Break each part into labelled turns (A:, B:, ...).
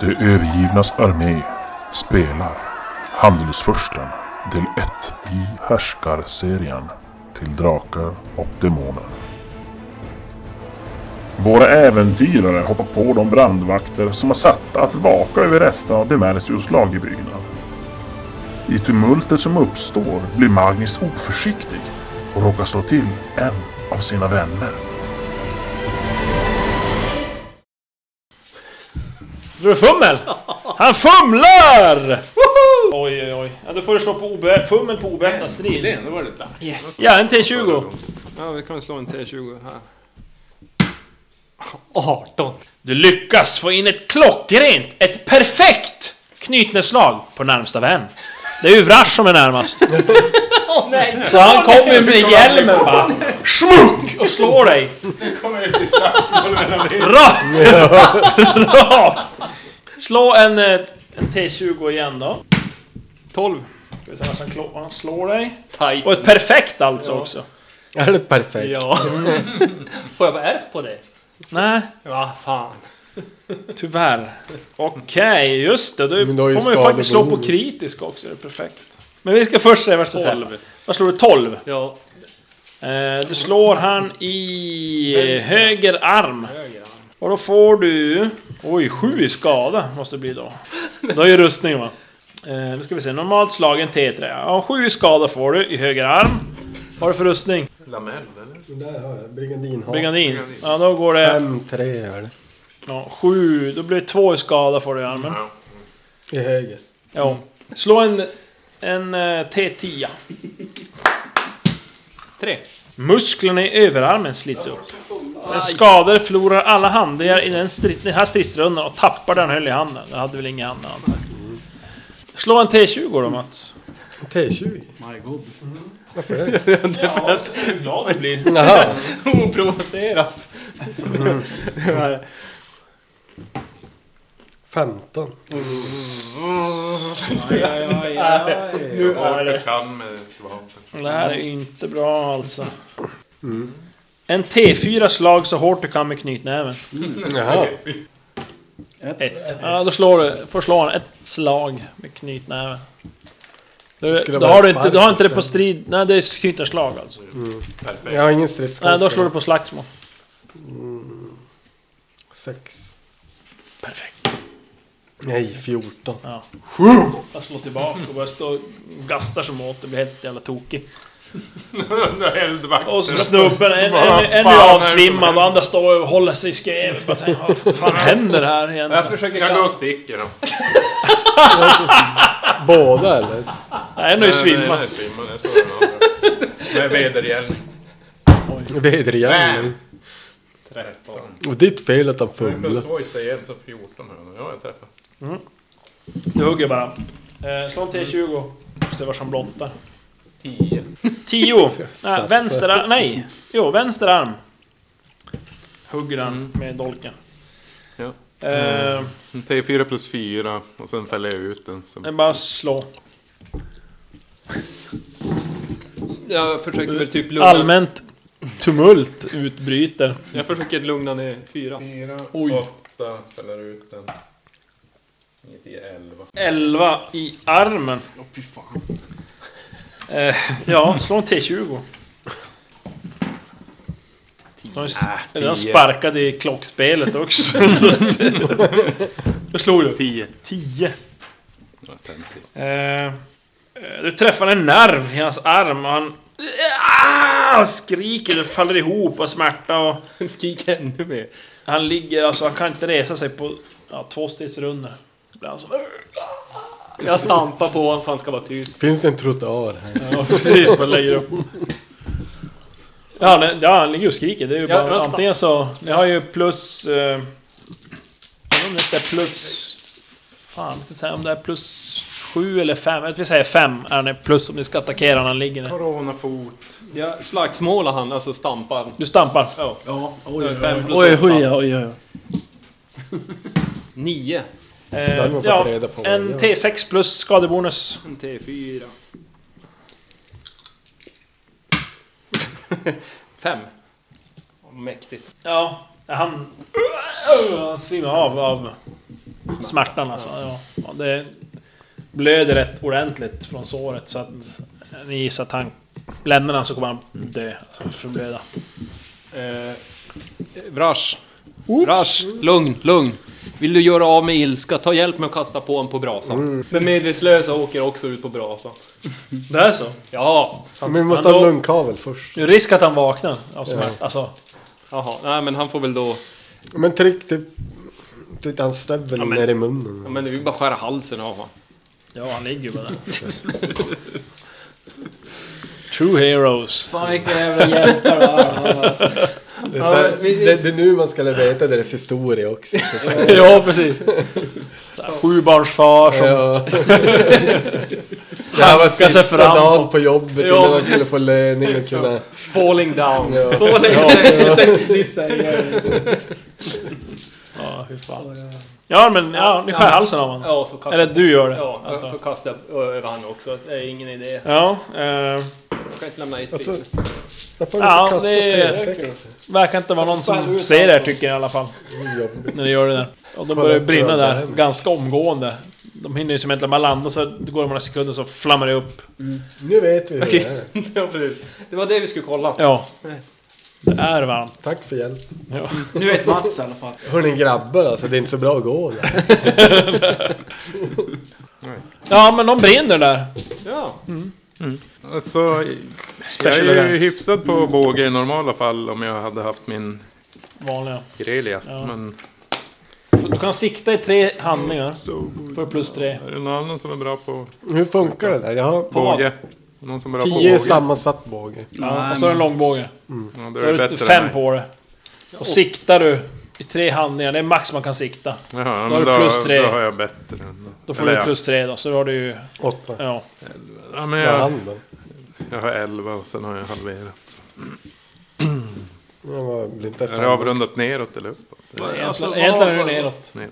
A: De övergivnas armé spelar Handelsfursten del 1 i Härskarserien till Drakar och Demoner. Våra äventyrare hoppar på de brandvakter som är satta att vaka över resten av Demertius lagerbyggnad. I tumultet som uppstår blir Magnus oförsiktig och råkar slå till en av sina vänner.
B: Du är fummel! Han fumlar! Oj, oj, oj. Ja, då får du slå på obe- fummel på obeväpnad strid.
C: Det var det dags.
B: Yes. Ja, en T20.
C: Ja, vi kan slå en T20 här.
B: 18. Du lyckas få in ett klockrent, ett perfekt knytnävsslag på närmsta vän. Det är ju Vrash som är närmast.
D: Nej,
B: Så han kommer med hjälmen bara. Smuck! Och slår dig.
C: Kommer ut i slagsmål mellan er.
B: Rakt! Rakt! Slå en, eh, en T20 igen då.
C: 12.
B: Ska vi se vad som klå- vad han slår dig.
D: tajt.
B: Och ett perfekt alltså också.
E: Är det perfekt?
D: Ja. Får jag bara ärf på dig?
B: Nej,
D: Ja, fan.
B: tyvärr. Okej, just det. Du
E: Men då är ju
B: får man ju
E: skada
B: faktiskt slå på
E: bonus.
B: kritisk också. Det är perfekt. Men vi ska först se värsta träffen.
D: 12.
B: Vad slår du? 12?
D: Ja.
B: Eh, du slår han i höger arm. Och då får du... Oj, sju i skada måste det bli då. Då är ju rustning va? Eh, nu ska vi se, normalt slagen T3. Ja, sju i skada får du i höger arm. Vad har du för rustning?
C: Lamell, eller?
E: Där har jag. Brigandinhav.
B: Brigandin? Ja, då går det...
E: Fem, tre är det.
B: Ja, sju. Då blir det två i skada får du i armen.
E: I höger.
B: Ja. Slå en, en eh, T10.
D: Tre.
B: Musklerna i överarmen slits upp. Den skadade förlorar alla handlingar i den, strid, den här stridsrundan och tappar den höll i handen. Den hade väl ingen hand antar jag. Slå en T20 då Mats.
E: T20.
D: My god.
B: Ja, hur glad du blir.
E: Jaha.
D: Oprovocerat. Det var-
E: 15.
B: Nu är det.
C: Kan med ett vapen.
B: Det här är ju inte bra alltså. En T4 slag så hårt du kan med knytnäven.
E: Jaha.
B: Ett. Ja, då slår du. Får slå en- ett slag med knytnäven. Då,
E: skulle
B: då,
E: vara
B: har
E: en
B: du inte,
E: spark
B: då har inte det på
E: istället.
B: strid... Nej, det är knytnävsslag alltså.
E: Jag har ingen
B: Nej,
E: stridskonst.
B: då slår du på slagsmål.
E: Sex.
B: Perfekt.
E: Nej, 14.
B: Ja. Jag slår tillbaka och börjar stå och gastar som åt. Det blir helt jävla tokig.
C: Under eldvakter.
B: Och så snubben, en, en,
C: Vad
B: en
C: fan
B: är
C: är
B: avsvimmad och andra står och håller sig i skrevet. Bara tänker, vad fan händer här
D: Jag
B: egentligen?
D: försöker
C: Jag går och
D: kasta.
C: sticker då.
E: Båda eller?
B: Nej, en har ju svimmat.
C: Nej, nej, svimma, jag tror det var bra. Med vedergällning.
E: Vedergällning.
C: Nej. 13.
E: Och ditt fel att han
C: Plus
E: fumlade.
C: två i CM, så 14 har jag nu. Ja, jag träffar.
B: Du hugger bara. Eh, slå en T20. Får Se vad som blottar.
C: 10.
B: 10. Nej,
E: satsar.
B: vänster arm. Nej. Jo, vänster arm. Hugger han med dolken.
C: Ja.
B: Eh,
C: T4 plus 4 och sen fäller jag ut den.
B: det är bara att slå.
D: Jag försöker väl typ lugna...
B: Allmänt tumult utbryter.
D: Jag försöker lugna ner fyra.
C: 4,
D: Oj.
C: 8, fäller ut den. 9, 10, 11.
B: 11 i armen.
C: Åh fy fan.
B: Eh, ja, slå en T20. De är redan sparkad i klockspelet också. så att- Vad slog du?
C: 10.
B: 10. Eh, eh, du träffar en nerv i hans arm och han ah, skriker, det faller ihop av smärta och
D: Skrik ännu mer.
B: han ligger, alltså han kan inte resa sig på ja, två stridsrundor. Ibland så...
D: Jag stampar på honom så han ska vara tyst.
E: Finns det en trottoar här?
B: Ja, precis. Bara lägger upp. Ja, han- ja, han ligger och skriker. Det är ju
D: Ja,
B: bara,
D: vänta.
B: antingen så... Ni har ju plus... Eh, jag vet inte om det är plus... Fan, jag ska säga om det är plus sju eller fem. Jag vill säga fem är det plus om ni ska attackera när han ligger ner.
C: Coronafot.
D: Jag slagsmålar han, alltså stampar.
B: Du stampar.
D: Ja, oj, fem plus
B: Oj,
D: åtta.
B: oj, oj, oj.
D: Nio.
E: Där har
B: Eh,
E: man fått
B: ja,
E: reda på vad
B: en
E: jag
B: T6 plus skadebonus.
D: En T4. Fem. Mäktigt.
B: Ja, han... Han svimmar av av Smärtan alltså. Ja. Ja, det blöder rätt ordentligt från såret så att... Ni gissar att han... Lämnar han så kommer han dö. Alltså, förblöda.
D: Eh, Vrash. Vrash. Lugn, lugn. Vill du göra av med ilska, ta hjälp med att kasta på en på brasan.
B: Mm.
C: Den medvetslösa åker också ut på brasan.
B: Det är så?
D: Ja.
F: Men vi måste ha en lungkavel först.
B: Risk att han vaknar av smärta. Alltså,
D: Jaha, nej men han får väl då...
F: Men tryck typ... typ han stäbben
D: men-
F: ner i
D: Ja,
F: munnen.
D: men vi bara skära halsen av honom.
B: ja han ligger ju bara där. True heroes.
D: Fan vilken jävla hjältar du
F: Det är, så här,
C: Ja, vi- vi-
F: det, det är nu man ska veta deras historia också.
B: ja, precis. Så här, Sjubarnsfar som...
F: Ja. Det här var
B: Hankar sig
F: sista
B: fram
F: dagen på jobbet
D: Ja.
F: innan man skulle få löning och kunna...
D: Falling down.
F: Ja.
D: Falling
B: Ja, hur fan. Ja, men ja, ni skär halsen av honom.
D: Ja, så kastar
B: Eller du gör det.
D: Ja, så
B: alltså.
D: kastar jag över han också. Det är ingen idé.
B: Ja, eh,
D: Jag kan inte lämna ett
F: Alltså,
D: till.
F: där får du
B: Ja,
F: kasta
B: det är-
F: T6.
B: verkar inte vara någon som ser det här, tycker jag i alla fall.
G: Mm,
B: När det gör det där. Och de börjar brinna där ganska omgående. De hinner ju som egentligen bara landa så det går några sekunder så flammar det upp.
F: Nu vet vi hur det är.
D: Ja, precis. Det var det vi skulle kolla.
B: Ja. Det är varmt.
F: Tack för hjälp.
D: Nu vet Mats i alla fall.
F: Hörni grabbar alltså, det är inte så bra att gå där.
B: Ja, men de brinner där.
D: Ja.
G: Alltså, jag
B: Special
G: är ju
B: events.
G: hyfsad på båge i normala fall om jag hade haft min
B: Vanliga.
G: Grelias.
B: Ja.
G: Men
B: Så Du kan sikta i tre handlingar. Får du plus tre.
G: är det någon annan som är bra på
F: Hur funkar det där? Jag har
G: båge? Någon som är bra på
F: tio
G: båge?
F: sammansatt båge.
B: Ja, och så har du en långbåge.
G: Ja, då
B: Då
G: är det
B: har du
G: bättre än
B: fem
G: mig.
B: på det. Och siktar du i tre handlingar, det är max man kan sikta.
G: Jaha, ja,
B: har
G: men
B: du
G: då,
B: plus tre.
G: Då har jag bättre. Än,
B: Då får
G: eller
B: du
G: ja.
B: plus tre då, så har du ju...
F: Åtta.
B: Ja.
G: Ja, men
F: Vad
G: jag,
F: hann då?
G: jag har elva och sen har jag halverat.
F: Jag var- blir inte
G: Är det avrundat neråt eller uppåt?
F: Alltså,
B: Egentligen, egentligen är det neråt.
G: Nej.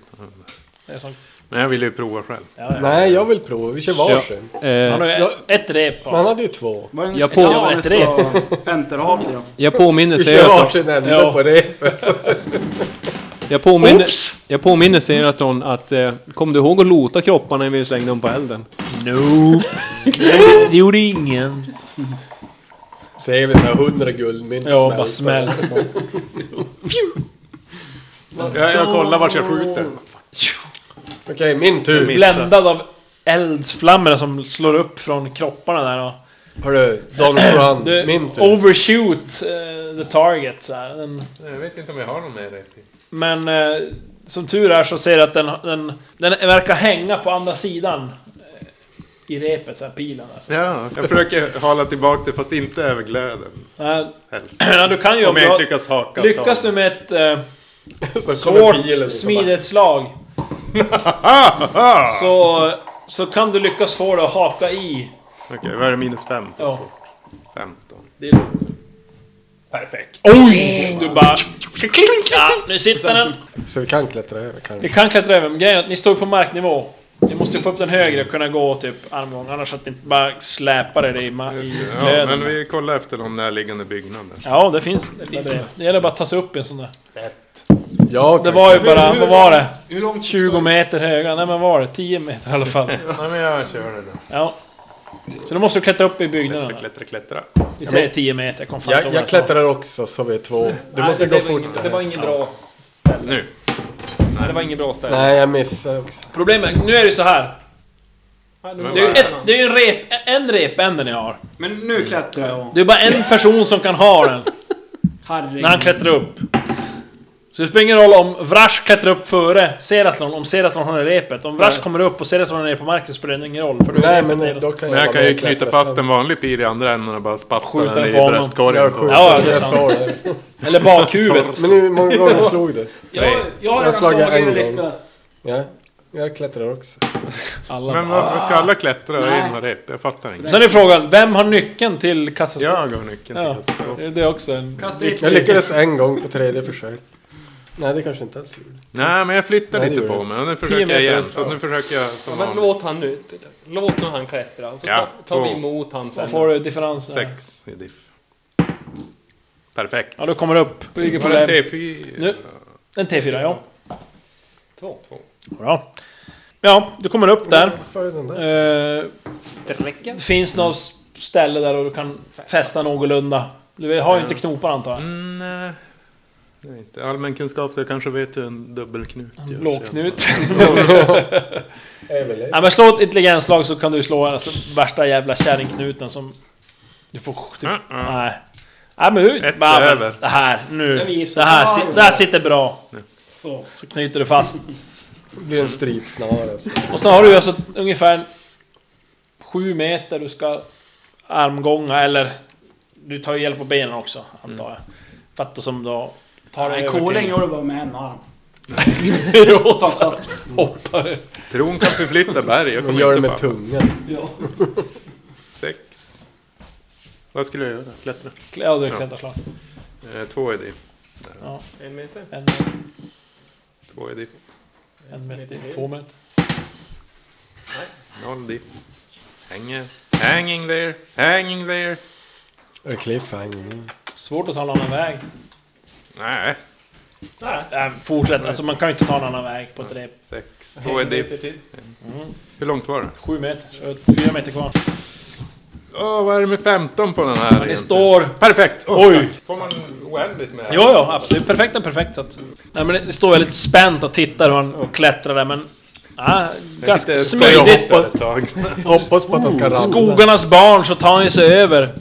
B: Det är sånt.
G: Men jag vill ju prova själv.
B: Ja, ja.
F: Nej, jag vill prova. Vi kör varsin.
B: Han har ju ett, ett rep
F: Man
B: på.
F: hade ju två.
D: Jag, på,
B: Ja, Eh. ett rep.
H: Enterhavlig då.
D: jag påminner
F: Vi
D: sig
F: kör
D: att...
F: varsin ände
D: Ja.
F: på repet.
D: Jag påminner, jag påminner Seraton att... Eh, kom du ihåg att lota kropparna när vi slängde dem på elden?
B: No. Det gjorde ingen.
F: Säger vi några hundra guldmynt
B: Ja, bara
F: smälter.
B: smäll.
G: Jag, jag kollar vart jag skjuter.
F: Okej, min tur.
B: Bländad av eldsflammorna som slår upp från kropparna där. Och
F: Hörru, Don Juan.
B: det,
F: Min tur.
B: overshoot eh, the target. Så här. Den,
G: Jag vet inte om jag har någon mer. riktigt.
B: men eh, som tur är så ser jag att den, den, den verkar hänga på andra sidan. eh, I repet, så här, pilen där.
G: Ja, jag försöker hala tillbaka det fast inte över glöden.
B: Nej,
G: Helst.
B: Ja, du kan ju om
G: Om jag
B: du
G: inte
B: har-
G: lyckas haka
B: Lyckas du
G: tag.
B: med ett eh,
F: Så kommer
B: svårt
F: pilen.
B: smidighetsslag så, så kan du lyckas få det att haka i.
G: Okej, vad är det? Minus fem?
B: Ja.
G: 15.
B: Perfekt. Oj! Du bara... Ja, nu sitter den.
F: Så vi kan klättra över kanske.
B: Ni kan klättra över, men grejen är att ni står på marknivå. Ni måste ju få upp den högre och kunna gå typ armgång, annars att ni inte bara släpar er i, ma- i
G: Ja, men
B: glöden.
G: vi kollar efter någon närliggande byggnad. där.
B: Ja, det finns det. finns det. Det gäller bara att ta sig upp i en sån där.
F: Jag
B: Det
F: kan
B: var ju bara, vad var det? 20 meter höga? Nej men vad var det? 10 meter i alla fall.
G: Nej, men jag kör det då.
B: Ja. Så då måste du klättra upp i byggnaderna.
G: Klättra, klättra, klättra.
B: Vi säger 10 meter, jag kom fan inte
F: jag,
B: ihåg vad
F: jag
B: jag sa.
F: klättrar också så vi är två. Du måste gå fort.
D: Det var ingen bra...
G: Nu.
D: Nej, det var ingen bra ställe.
F: Nej, jag missar också.
B: Problemet, nu är det så här. Det är ju ett, det är ju en, rep, en repände ni har.
H: Men nu klättrar jag.
B: Det är bara en person som kan ha den.
H: Herregud.
B: När han klättrar upp. Så det spelar ingen roll om Vrash klättrar upp före Seratlon, om Seratlon har repet. Om Vrash kommer upp och Seratlon är nere på marken spelar det ingen roll. För då är
F: Nej,
B: repet
F: men
B: nere.
F: då kan jag
G: Men
F: vara
G: jag kan
F: med
G: ju
F: och klättra
G: knyta fast
F: sen.
G: en vanlig pil i andra änden och bara
B: Skjuta den
G: spatta den i
B: på honom.
F: Jag
G: bröstkorgen.
F: skjuter.
B: Ja, det är
F: Jag
B: sant.
F: sa det.
B: Eller bakhuvudet.
F: Men hur många gånger slog du?
G: Nej.
H: Jag har
F: Jag
H: redan
F: slagit
H: slagit
F: en
H: och
F: gång.
H: lyckats.
F: Ja, jag klättrar också.
B: Alla
G: Men
B: bara.
G: varför ska alla klättra i
H: Nej.
G: en rep? Jag fattar inte.
B: Sen är frågan, vem har nyckeln till kassaskåpet?
G: Jag har nyckeln till
B: Ja,
G: kassaskåpet.
B: det är också en...
H: Kasta i
F: Jag lyckades en gång på tredje försök. Nej, det kanske inte alls gjorde.
G: Nej, men jag flyttar
F: Nej, det
G: lite
F: gör
G: på
F: det
G: mig. Och Nu
B: Tio
G: försöker
B: meter
G: jag igen.
B: upp.
G: Fast nu försöker jag som
D: Men
G: vanligt.
D: låt han nu... Låt nu han klättra. och Så
G: Ja,
D: tar, tar vi
G: två.
D: emot han sen.
B: Vad får du differens?
G: Sex i diff. Perfekt.
B: Ja, du kommer upp. Ligger på
G: Var det en
B: det.
G: T4?
B: Nu. En T4, ja.
D: Två.
B: Bra. Ja, du kommer upp där.
F: Följ den där.
B: Eh,
D: Sträcka?
B: det finns något ställe där du kan fästa någorlunda. Du har ju inte knopar antar jag?
G: Mm, nej. Det är inte allmän kunskap så jag kanske vet hur en dubbelknut görs.
B: Blåknut.
F: Överlev.
B: Nej men slå ett intelligenslag så kan du slå alltså, värsta jävla kärringknuten som... Du får... Typ, Nej. Nej men hur...
G: Ett
B: Nej, men
G: över.
B: Det här, nu.
H: Jag
B: Det
H: visar.
B: här, si- det här sitter bra.
H: Så.
B: Så knyter du fast.
F: Det blir en stripsnare. Alltså.
B: Och sen har du ju alltså ungefär... Sju meter du ska armgånga eller... Du tar ju hjälp av benen också, antar jag. För att som då... Tar dig
H: Nej,
B: över
H: koling
B: till...
H: gör du bara med en arm.
B: Jo,
H: Fast att,
B: hoppa.
G: Tron kan förflytta berg. Jag
F: Man
G: kommer
F: gör det
G: inte
F: med
G: fram.
F: tungan.
H: ja.
G: Sex. Vad skulle jag göra? Klättra?
B: Ja, du är klättrat klart.
G: Eh, två är det.
C: En meter?
B: En,
G: Två är det.
B: en meter, två meter.
G: Noll det. Hänger. Hanging there. Hanging there.
F: Är det cliffhanger?
B: Svårt att ta en annan väg.
G: Nej.
B: Nej, nej, fortsätt. Alltså man kan ju inte ta en annan väg på ett rep.
G: Sex. Två är det. Hur långt var det?
B: Sju meter, så fyra meter kvar.
G: Åh, vad är det med 15 på den här?
B: Men det
G: egentligen?
B: står...
G: Perfekt!
B: Oj!
G: Får man oändligt med?
B: Jo, jo, absolut. Perfekt är perfekt. Så att... Nej, men det står väldigt spänt och tittar hur han klättrar där, men... Ja, ganska smidigt.
G: på
B: På
G: ett tag.
F: Hoppas på att han ska ramla.
B: skogarnas barn så tar han ju sig över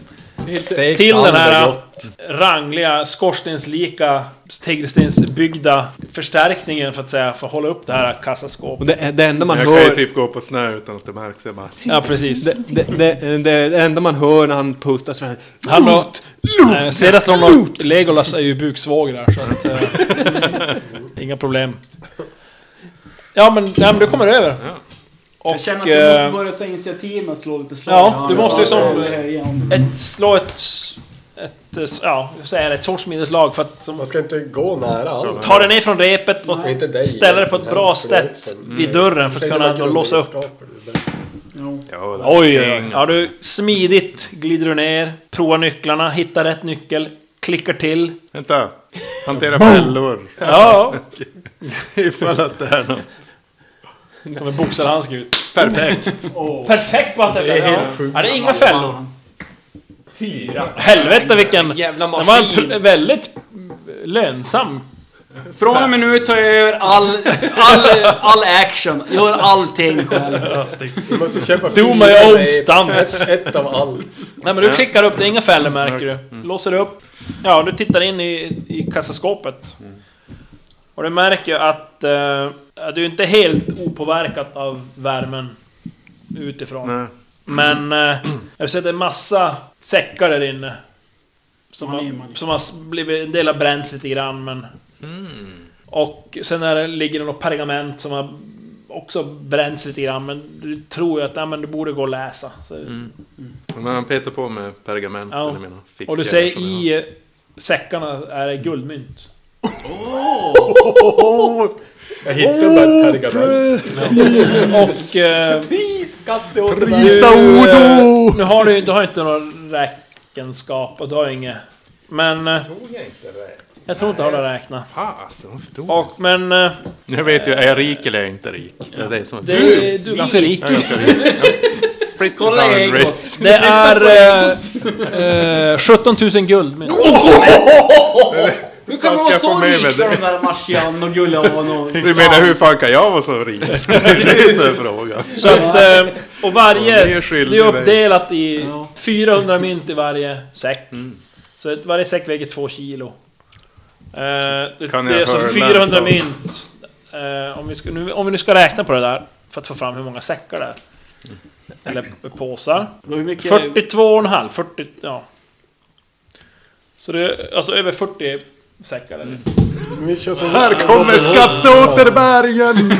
E: Stekt
B: till den
E: alder
B: här
E: gott.
B: rangliga, skorstenslika, tegelstensbyggda förstärkningen för att säga, för att hålla upp det här
D: Och
B: kassaskåpet.
D: det, det enda man
G: Jag kan ju
D: hör...
G: typ gå på snö utan att det märks. Jag bara...
B: Ja, precis.
D: Det, det,
B: typ-
D: det, det, det enda man hör när han pustar så här...
B: Han har... Eh, Sedatron och Legolas är ju buksvåger där, så att... Eh, inga problem. Ja men, ja, men du kommer över.
H: Jag känner
B: Och... Eh,
H: att du måste börja ta initiativ med att slå lite slag.
B: Ja, du måste ju som-
H: som...
B: ett, slå ett... Ett... eh, Ja, jag säger det, ett sorts minneslag för att... Som,
F: Man ska inte gå nära allt.
B: ta dig ner från repet och
F: Inte dig.
B: ställa dig på ett bra sätt vid dörren för att kunna då låsa upp.
H: Jo.
G: Ja, det-
B: Oj, oj, oj. Ja, du smidigt glider du ner, provar nycklarna, hittar rätt nyckel, klickar till.
G: Vänta. Hantera fällor.
B: Ja,
G: Ifall att det är något.
B: ja. kommer boxarhandske ut.
G: Perfekt.
H: Åh,
B: Perfekt på allt det är helt sjukt. Ja, det är inga fällor.
H: fan.
B: Helvete vilken...
D: Jävla
B: Den var en
D: maskin!
B: pr- väldigt lönsam.
H: Från och med nu tar jag över all, all, all action. Gör allting själv.
F: Du måste köpa
B: Do my
F: fyra
B: own
F: rep.
B: stunts.
F: Ett av allt.
B: Nej men du klickar upp, det är inga fällor märker du. Låser upp. Ja, du tittar in i, i kassaskåpet.
G: Mm.
B: Och du märker ju att eh, ja, du är inte helt opåverkat av värmen utifrån.
G: Nej.
B: Men eh, jag ser att det är massa säckar där inne. Som
H: Manin,
B: har,
H: manin.
B: som har blivit, en del har bränts lite grann men... Och sen är det, ligger det något pergament som har också bränts lite grann men du tror ju att nej, men du borde gå och läsa. Så,
G: Men han petar på med pergamenten
B: Ja.
G: i mina fickor.
B: och du säger i eh, säckarna är det guldmynt.
F: Jag hittade oh, ett pergament.
B: Och... Eh,
F: Prisa Odo!
B: nu har du ju- du har ju inte någon räkenskap och du har ju inget... Men... eh, Jag tror inte jag har det räknat.
G: Fasen, alltså, varför tog jag?
B: Och, men... eh,
G: Jag vet ju, är jag rik eller är jag inte rik? Det är det som är...
B: Det är, du,
D: Ganska lik.
G: Pretty darn rich.
B: Det är... Eh, eh, 17 000 guld. men-
H: Hur kan
G: Fan,
H: man vara
G: ska jag få
H: så
G: med
H: rik
G: mig
H: för de där Marcian och Gullavan och...
G: Du menar hur fan kan jag vara så rik? Det är så frågan.
B: Så att, eh, och varje...
G: Hon är skyldig
B: Det är uppdelat i
H: Ja.
B: 400 mynt i varje säck.
G: Mm.
B: Så att varje säck väger 2 kilo. Eh, det,
G: Kan jag
B: det är så
G: höra
B: 400
G: läsa?
B: mynt. Eh, om, vi ska, nu, om vi nu ska räkna på det där, för att få fram hur många säckar det är. Eller påsar.
H: Hur mycket...
B: 42,5. 40, ja. Så det är alltså över 40 säckar. Eller?
H: Mm.
F: Vi kör som
G: Här kommer skatteåterbäringen!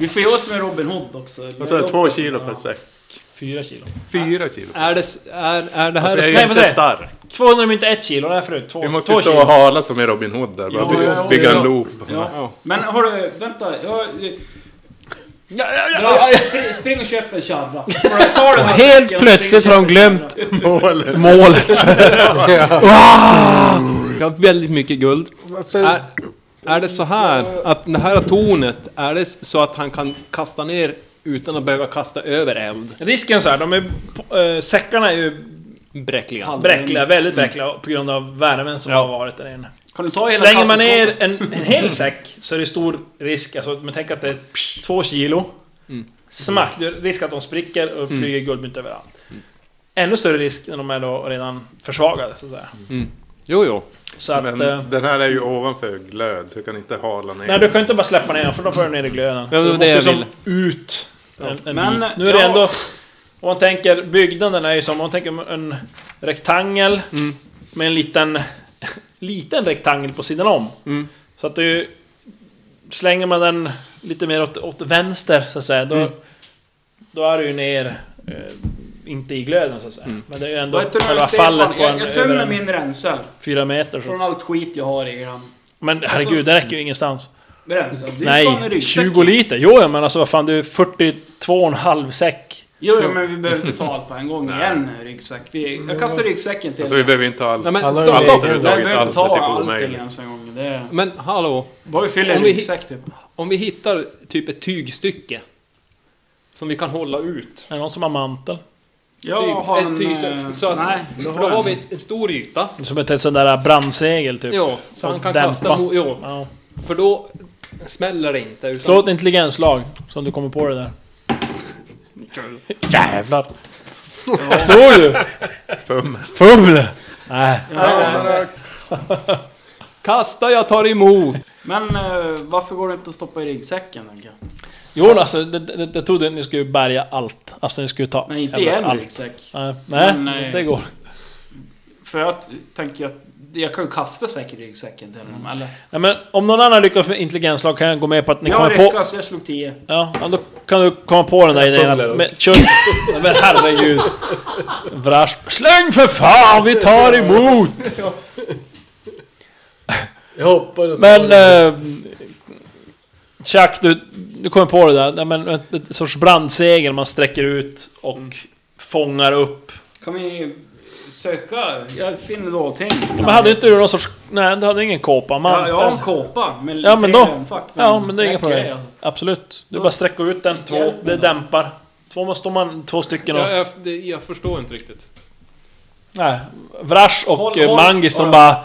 H: Vi får göra som med Robin Hood också.
G: Och så är det två kilo per säck.
B: 4 kilo.
G: Fyra kilo.
D: Är det, s- är, är det här...
G: Alltså, jag
B: Nej,
G: är
B: vad
G: inte
B: säger-
G: stark.
B: 200 mynt är 1 kilo. Nej förut. 2
G: Vi
B: kilo.
G: måste stå och hala som i Robin Hood där.
H: Ja, ja,
G: Bara
H: ja,
G: bygga
H: ja.
G: en loop.
H: Ja. Men hörru, vänta. Jag,
D: Ja, ja, ja.
H: jag, spring och köp en tjadra. Ta den
D: Och
H: här
D: helt
H: säcken,
D: plötsligt
H: spring och
D: har de
H: köp en
D: glömt
H: tjadra.
G: Målet.
D: målet. Jag har väldigt mycket guld.
F: Varför
D: Är, Är det så här att det här tornet, är det så att han kan kasta ner utan att behöva kasta över eld?
B: Risken så här, de är... eh, säckarna är ju
D: Bräckliga.
B: bräckliga, väldigt bräckliga på grund av värmen som har varit där inne.
H: Mm. Kan du ta hela
B: Slänger man
H: kassaskåpet?
B: ner en, en hel säck så är det stor risk, alltså men tänk att det är två kilo. Smack, det är risk att de spricker och flyger guldmynt överallt. Ännu större risk när de är då redan försvagade så att säga.
D: Jo, jo.
B: Så att...
G: Men
B: eh,
G: den här är ju ovanför glöd, så jag kan inte hala ner.
B: Nej, du kan inte bara släppa ner den för då får du ner i glöden.
D: Ja,
B: Så
D: det var
B: du
D: det jag
B: måste
D: ville.
B: ut en, en
H: Men,
B: bit. Nu är det
H: ja.
B: ändå... Om man tänker, byggnaden är ju som, om man tänker en rektangel
D: Mm.
B: med en liten, liten rektangel på sidan om.
D: Mm.
B: Så att det är ju... Slänger man den lite mer åt, åt vänster så att säga, då...
D: Mm.
B: Då är det ju ner... Eh, inte i glöden så att
D: Mm.
B: säga. Men det är ju ändå
H: Vad heter det,
B: själva
H: Stefan?
B: fallet på en...
H: Jag, jag tömmer
B: över en
H: min rensel.
B: Fyra meter så
H: Från
B: att,
H: allt skit jag har i den.
B: Men herregud, det räcker ju ingenstans.
H: Rensel. Det är fan en
B: Nej,
H: ryggsäck.
B: 20 liter. Jo, ja, men alltså vad fan, det är 42,5 säck.
H: Jo, jo, men vi behöver inte ta allt på en gång igen, ryggsäck. Vi, jag kastar ryggsäcken till
G: Så Mm. Alltså, vi behöver inte alls...
D: Nej, men
E: Han har
D: stopp,
E: ju-
D: stopp.
H: Jag
G: överhuvudtaget
H: behöver
G: alls, det
H: inte
G: är
H: ta
G: typ
H: allting
G: omöjligt.
H: ens en gång. Det är...
D: Men hallå,
H: Bara vi fyller en
D: Om vi-
H: ryggsäck typ.
D: om vi hittar typ ett tygstycke som vi kan hålla ut.
B: Är det någon som har mantel?
H: Jag
D: typ,
H: har en...
D: ett tyg,
H: eh,
D: så, så att,
H: nej.
D: för då har vi ett, en stor yta.
H: Typ
B: Som ett sånt där brandsegel typ?
D: Ja, så
B: Som
D: han kan
B: dämpa.
D: kasta mot... Jo,
B: Ja.
D: för då smäller det inte. Utan,
B: Slå ett intelligenslag, som du kommer på det där. Jävlar! Slår du? Fum. Fum! Nej.
D: Kasta, jag tar emot!
H: Men eh, varför går det inte att stoppa i ryggsäcken? tänker jag?
B: Jo, alltså, det, det, jag trodde att ni skulle bärga allt. Alltså ni skulle ta...
H: Nej, inte i
B: över
H: en
B: allt.
H: ryggsäck.
B: Nej, nej,
H: Men, nej.
B: det går.
H: För jag t- tänker att jag kan ju kasta säkert ryggsäcken till
B: Mm.
H: honom, eller?
B: Nej, men om någon annan lyckas med intelligenslag kan jag gå med på att ni kommer
H: Jag
B: på...
H: lyckas, jag slog 10.
B: Ja, ja, då kan du komma på den där idén
E: fumlar
B: att...
E: upp.
B: Men, kör, Nej, men herregud! Vrash. Släng för fan! Vi tar emot!
E: Jag hoppades... att-
B: Men... Eh, Chuck, du, du kommer på det där. Nej, men, ett, ett sorts brandsegel man sträcker ut och
H: Mm.
B: fångar upp.
H: Kan vi söka? Jag finner någonting.
B: Men hade inte du någon sorts... Nej, du hade ingen kåpa. Man,
H: Ja, jag har en kåpa med
B: Ja, men
H: tre
B: då-
H: lönfack,
B: Ja, men det är inga
H: räcker
B: problem.
H: alltså?
B: Absolut. Du bara sträcker ut den, två,
H: Hjälp mig
B: det
H: då.
B: dämpar. Två, man- står man två stycken och...
D: Jag, jag, det, jag förstår inte riktigt.
B: Nej. Vrash och
H: Håll-
B: eh,
H: håll-
B: Mangis som
H: håll-
B: bara...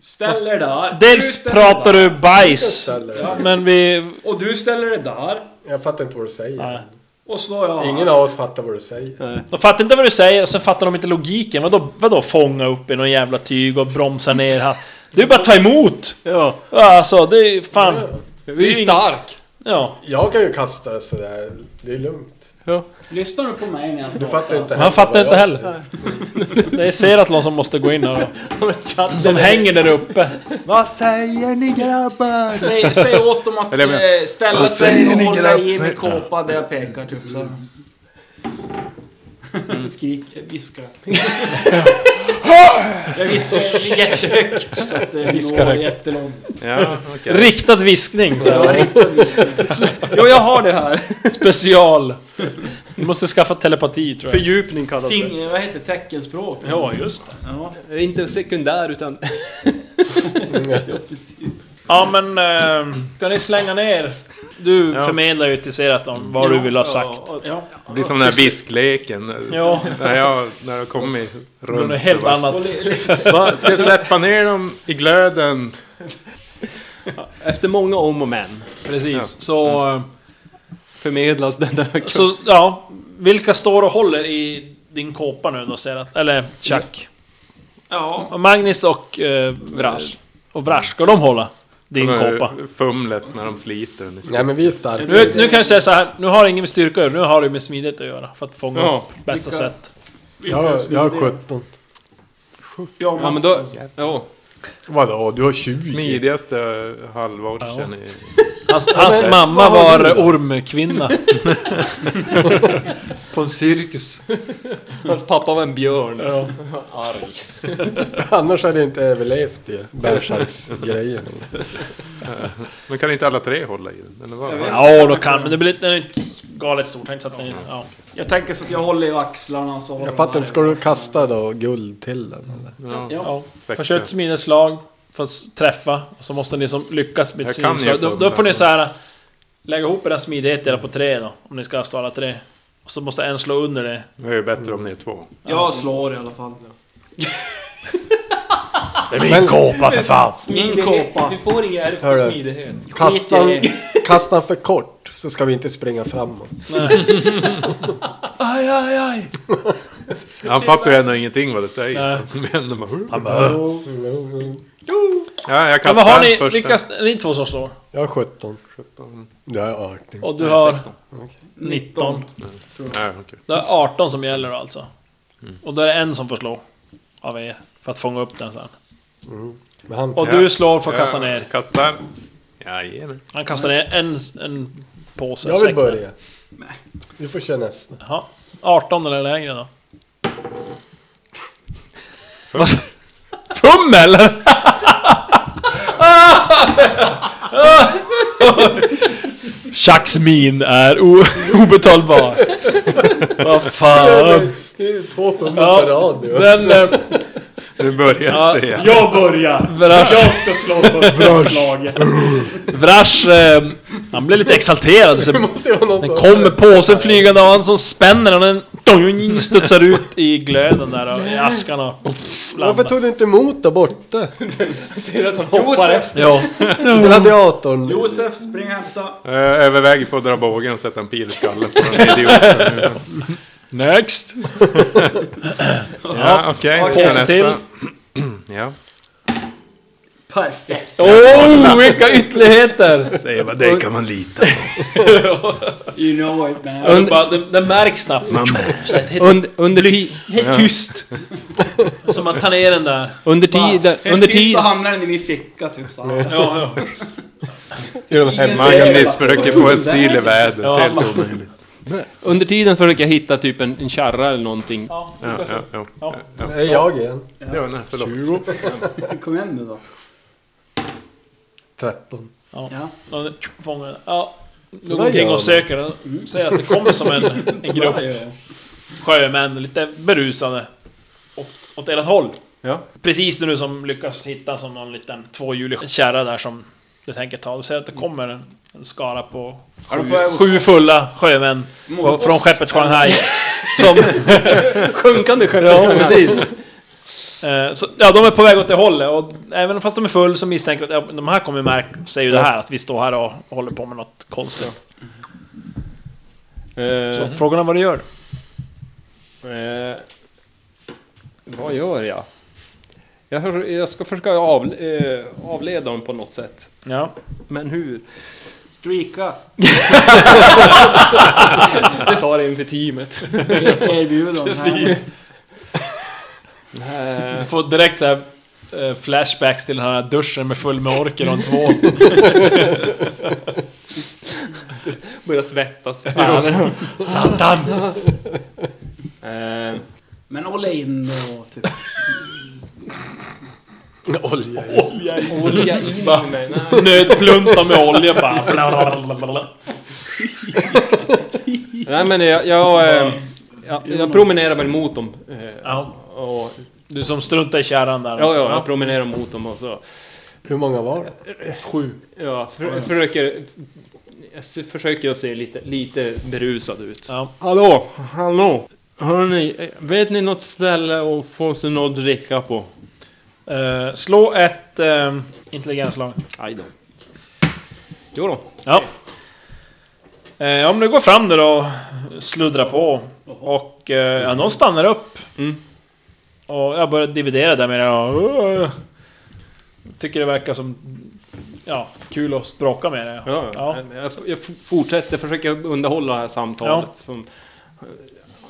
H: Ställ er där.
B: Dels
H: ställer
B: pratar
H: där,
B: du bajs,
E: Eller-
B: men vi...
H: Och du ställer dig där.
E: Jag fattar inte vad du
B: Nej.
E: säger.
H: Och slår jag
E: Ingen av oss fattar vad du säger.
B: De fattar inte vad du säger, och sen fattar de inte logiken. Vadå, vadå fånga upp i någon jävla tyg och bromsa ner här? Det är bara att ta emot! Ja. Alltså, det är fan...
D: Vi är
B: ing-
D: stark!
B: Ja.
E: Jag kan ju kasta det sådär. Det är lugnt.
H: Lyssnar du på mig när jag
E: Du
H: pratar?
E: fattar inte
B: Han fattar
E: vad
B: inte
E: jag
B: heller. Det är Seratlon som måste gå in här då. Som hänger där uppe.
H: Säg, säg åt dem att
G: Eller jag menar-
H: eh, ställa sig och hålla i min kåpa där jag pekar typ så. här. Skrik, eh, viska. jag viskar jättehögt så att det
B: Viskar
H: når
B: högt.
H: jättelångt.
G: Ja, okej.
B: Riktad viskning. så här.
H: Jo, jag har det här.
B: Special. Du måste skaffa telepati tror jag.
D: Fördjupning kallas det.
H: Fing, vad heter teckenspråk?
B: Ja, just det.
H: Ja.
D: Det är Eh, Inte sekundär utan...
B: Ja men... Eh, ska ni slänga ner? Du förmedlar ju till Seratlon vad du vill ha sagt.
H: Ja.
G: Det blir som den här viskleken.
B: Ja.
G: När jag, när jag kom i
B: Det är
G: runt.
B: något helt
G: så bara,
B: annat.
G: "Va? Ska jag släppa ner dem i glöden?
D: Efter många om och men
B: Precis. Så... eh,
D: förmedlas den där...
B: Så, ja. Vilka står och håller i din kåpa nu då, säger att, Eller Chuck?
H: ja.
B: Och Magnus och... Eh, Vrash. Och Vrash, ska de hålla? Din kåpa.
G: Fumlet när de sliter den. istället.
E: Nej men vi är starka.
B: Nu, nu kan jag säga så här. nu har det ingen med styrka att göra, nu har det med smidighet att göra. För att fånga
G: Ja.
B: upp bästa
H: Vilka-
B: sätt.
E: Jag, jag har 17.
H: Ja, alltså.
D: Ja men då... Ja.
E: Vadå? Du har 20?
G: Smidigaste halvorchen i...
B: Hans, hans mamma var ormkvinna. På en cirkus.
D: Hans pappa var en björn.
E: Annars hade jag inte överlevt det. Bärsharksgrejen.
G: Men kan inte alla tre hålla i den? Eller vad?
B: Ja, då kan men det blir lite... Den är inte galet stor, tänk så att den... Ja.
H: Jag tänker så att jag håller i axlarna så håller
E: Jag
H: de
E: fattar inte.
H: här.
E: Ska du kasta då guld till den eller?
B: ja.
G: säkert.
B: Försök smidigt slag. för att träffa. Och så måste ni som lyckas med
G: Jag
B: sin...
G: kan ju
B: Så då,
G: få
B: då
G: den
B: får ni
G: här.
B: så här Lägga ihop era smidigheter på tre då, om ni ska stå alla tre. Och så måste en slå under det.
G: Det är ju bättre om ni är två.
H: Jag slår i alla fall.
E: Det är min kåpa för fan!
H: Min kåpa.
D: Du får inget ärv
E: Hörru.
D: för smidighet.
E: Kastan,
H: Skit i
E: kastan för kort så ska vi inte springa framåt.
B: Aj, aj, aj!
G: Han fattar ju ändå ingenting vad det säger.
B: Nej.
G: Men de bara...
E: Jo.
G: Ja,
B: Ja,
G: jag
B: men
G: kastar
B: har ni,
G: första.
B: vilka, ni två som slår?
E: Jag har 17. Jag är 18.
B: Och du har
G: 16.
B: 19.
G: Ja, okej.
B: Då är det 18 som gäller då alltså.
G: Mm.
B: Och då är det en som får slå. Av er. För att fånga upp den sen.
E: Men han,
B: Och
G: Ja.
B: du slår för att kasta
G: Ja,
B: ner.
G: Kastar. Jajamän.
B: Han kastar ner en, en påse.
E: jag vill
B: säck där.
E: börja. Du får köra nästa.
B: Jaha. 18 eller lägre då? Vad- Fummel! Chucks min är o- obetalbar. Vad fan.
E: Det är två pundar
B: Ja.
E: per rad nu.
B: Den... eh,
G: Nu börjar det igen.
B: Jag börjar! Vrash. Jag ska slå första slaget. Vrash, eh, han blev lite exalterad. Så den
E: måste ju vara någon som...
B: kommer påsen flygande och han som spänner den och den studsar ut i glöden där och i askan och
E: Varför
B: landar.
E: tog du inte emot där borta?
H: Ser att han hoppar efter?
B: Ja,
E: Gladiatorn.
H: Josef, spring och hämta.
G: Jag överväger Eh, på att dra bågen och sätta en pil i skallen på den här idioten. nu.
B: next!
G: Ja, okej. Okay,
B: Påse till.
G: Ja.
H: Perfekt.
B: Oh, vilka ytterligheter!
G: Säger vad det kan man lita på.
H: You know it man.
B: Och bara, Det, det märks snabbt. Så här, Helt,
D: Und, under, ti,
B: helt tyst. Som att ta ner den där.
D: under
H: Bara,
D: tiden...
H: helt
D: Under
H: tyst så
D: tiden...
H: hamnar den i min ficka typ så. här.
B: Ja, ja.
G: Magnus försöker få en sil i vädret.
B: Ja,
G: Helt
B: man-
G: omöjligt.
D: Under tiden försöker jag hitta typ en, en kärra eller någonting.
B: Ja,
G: Ja, ja, ja. ja.
E: Det är jag igen.
G: ja nej, förlåt.
H: Kom igen nu då.
E: 13.
H: Ja.
B: och den fångar den. Ja.
E: Så
B: Går
E: där
B: omkring
E: gör
B: och
E: man.
B: söker den. Mm, Säger att det kommer som en, en grupp sjömän, lite berusade. Åt, åt ert håll.
D: Ja.
B: Precis nu som lyckas hitta som någon liten tvåhjulig kärra där som du tänker ta. Du ser att det kommer en, en skara på
H: de på väg-
B: sju, sju fulla sjömän på, från skeppet Shanghai. Som...
D: Sjunkande skepp.
B: ja, precis. Eh, Så, ja, de är på väg åt det hållet och även fast de är full så misstänker jag att ja, de här kommer märka, säger ju det här, att vi står här och håller på med något konstigt. Så frågan är vad du gör.
D: Eh, vad gör jag? Jag, hör- jag ska försöka av, eh, avleda dem på något sätt.
B: Ja.
D: Men hur?
H: Streaka.
D: Det sa det inför teamet.
H: Erbjudande.
B: Precis. Du får direkt så här eh, flashbacks till den här duschen med full med orker och en tvål.
D: Börjar svettas. Fan.
B: Satan!
D: eh,
H: Men håll in då typ.
E: Olja.
B: Olja i-
D: olja in i mig. Nej.
B: Nötplunta med olja bara. blablabla.
D: Nej men jag... Jag, eh, jag, jag promenerar väl mot dem. Eh,
B: Ja,
D: och,
B: du som struntar i kärran där.
D: ja, ja, jag promenerar mot dem och så...
E: Hur många var det?
D: Sju. Ja, för, försöker... Jag s- försöker att se lite, lite berusad ut.
B: Ja.
D: Hallå, hallå. Hörni, eh, vet ni något ställe att få sig något att dricka på?
B: Eh, slå ett uh, intelligensslag.
D: Aj då. Jo då.
B: Ja. Eh, om du går fram där och sluddrar på. Och eh, ja, någon stannar upp.
D: Mm.
B: Och jag börjar dividera där med det och... Uh, tycker det verkar som... Ja, kul att språka med det.
D: Ja,
B: Ja.
D: Jag, jag f- fortsätter försöka underhålla det här samtalet. Som,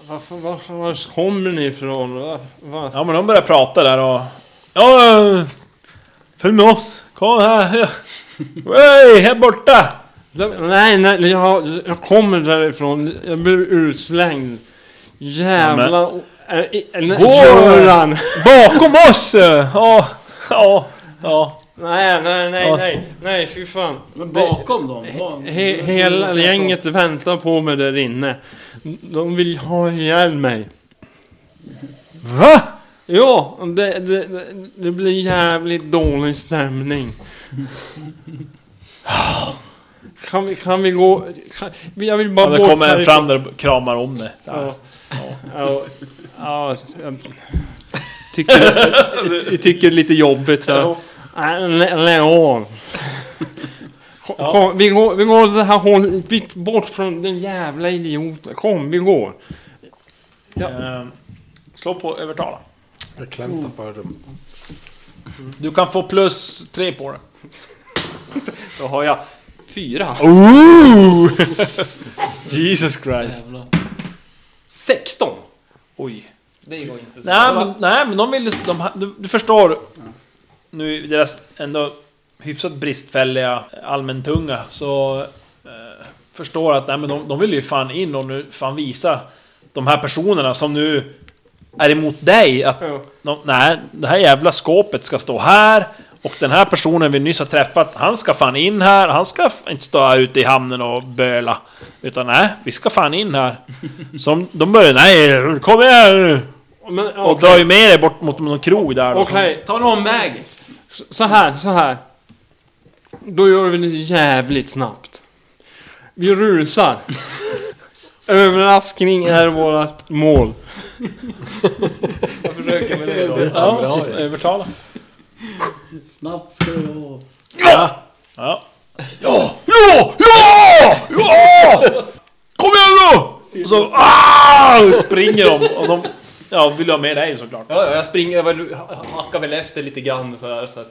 D: varför, var, var kommer ni ifrån? Var, var?
B: Ja, men de börjar prata där och... Ja, eh, följ med oss. Kom här. Hej, här borta.
D: Nej, nej, jag, jag kommer därifrån. Jag blev utslängd. Jävla... Ja,
B: Gå!
D: Göran!
B: Bakom oss! eh, Ja, ja, ja.
D: Nej, nej, nej,
B: Alltså.
D: nej, nej, fy fan.
H: Men bakom dem. var-
D: He hela gänget väntar på mig där inne. De vill ha ihjäl mig.
B: Va?
D: Ja, det, det, det- det blir jävligt dålig stämning. Kan vi, kan vi gå... Kan, jag vill bara
B: Ja, det
D: bort
B: kommer en
D: härifrån.
B: fram där och kramar om det. Så här.
D: Ja. Ja, ja, jag tycker, jag tycker det är lite jobbigt. Så. här. Nej, lä- Lägg av. Kom, kom, vi, går, vi går åt det här hållet. Vi- Bort från den jävla idioten. Kom, vi går.
B: Ehm, Slå på övertala.
F: Jag klämtar på dem.
B: Du kan få plus tre på det.
I: Då har jag fyra.
B: Jesus Christ.
I: 16!
B: Oj.
I: Det går inte så
B: Nej men, nej, men de vill ju- de, du, du förstår nu deras ändå hyfsat bristfälliga allmäntunga så eh, förstår att nej, men de, de vill ju fan in och nu fan visa de här personerna som nu är emot dig att de, nej, det här jävla skåpet ska stå här och den här personen vi nyss har träffat, han ska fan in här, han ska f- inte stå här ute i hamnen och böla. Utan nej, vi ska fan in här. Som de börjar, nej, kom här nu!
D: Men,
B: Och drar ju med dig bort mot någon krog där. då, som-
D: Okej,
H: Ta en omväg.
D: Så- Så här, så här. Då gör vi det jävligt snabbt. Vi rusar. Överraskning är vårt mål.
I: Jag försöker med det då.
B: Ja, övertala.
H: Snabbt ska det gå.
B: Ja. Ja! Ja! Ja! Ja! Kom igen då! Och så ah, springer de och de ja, vill ju ha med dig såklart.
I: Ja, ja, jag springer, jag väl- hackar väl efter lite grann så här. Så här.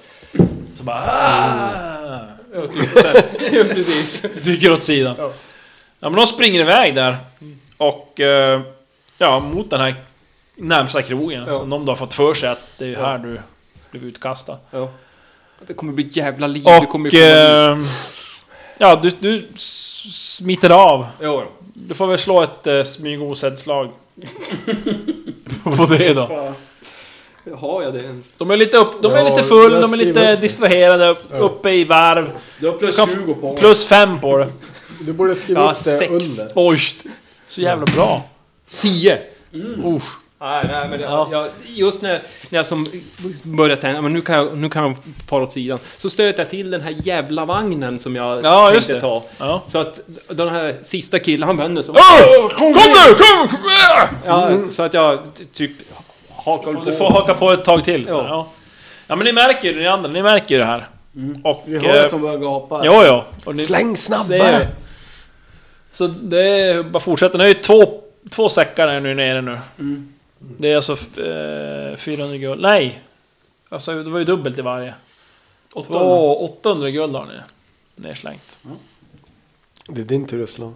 B: Så bara ah,
I: Ja, typ, så här. Ja, precis.
B: dyker åt sidan. Ja. men de springer iväg där. Och eh, ja, mot den här närmsta krogen som de då har fått för sig att det är här du blev utkastad.
I: Det kommer bli ett jävla liv. det kommer
B: Och...
I: ju komma
B: Eh, ja, du, du s- smiter av.
I: Ja,
B: Du får väl slå ett eh, smyg osedd slag. på det då.
I: då. Har jag det ens?
B: De är lite, upp, de är
F: Ja,
B: lite full,
F: jag
B: de är lite
F: skriver upp.
B: distraherade, upp- uppe i varv.
H: Du har plus
B: Du kan
H: 20 på honom.
B: Plus fem på det.
F: Du borde skriva
I: Ja,
F: upp det
I: sex.
F: under.
B: Oj! Så jävla bra.
I: Tio! Usch. Nej, Mm. nej, men jag, jag, just när, när jag som började tänka, men nu kan jag, nu kan jag fara åt sidan. Så stöter jag till den här jävla vagnen som jag
B: Ja, just
I: tänkte
B: det.
I: ta.
B: Ja.
I: Så att den här sista killen, han vänder sig.
B: Åh, kom nu! Kom! kom Mm. här!
I: Ja, så att jag ty- typ hakar väl på.
B: Du får haka på ett tag till. Så.
I: Ja.
B: Ja. ja, men ni märker ju det, ni andra. Ni märker ju det här.
I: Mm.
B: Och...
H: Vi hör
B: eh,
H: att de börjar gapa.
B: Jo, jo. Och ni-
F: Släng
B: Ser det.
F: snabbare!
B: Så det är bara fortsätter. Det är ju två, två säckar är nu nere nu. Det är alltså f- eh, 400 guld. Nej! Alltså det var ju dubbelt i varje. 800, 800 guld har ni nerslängt.
F: Det är din tur att slå.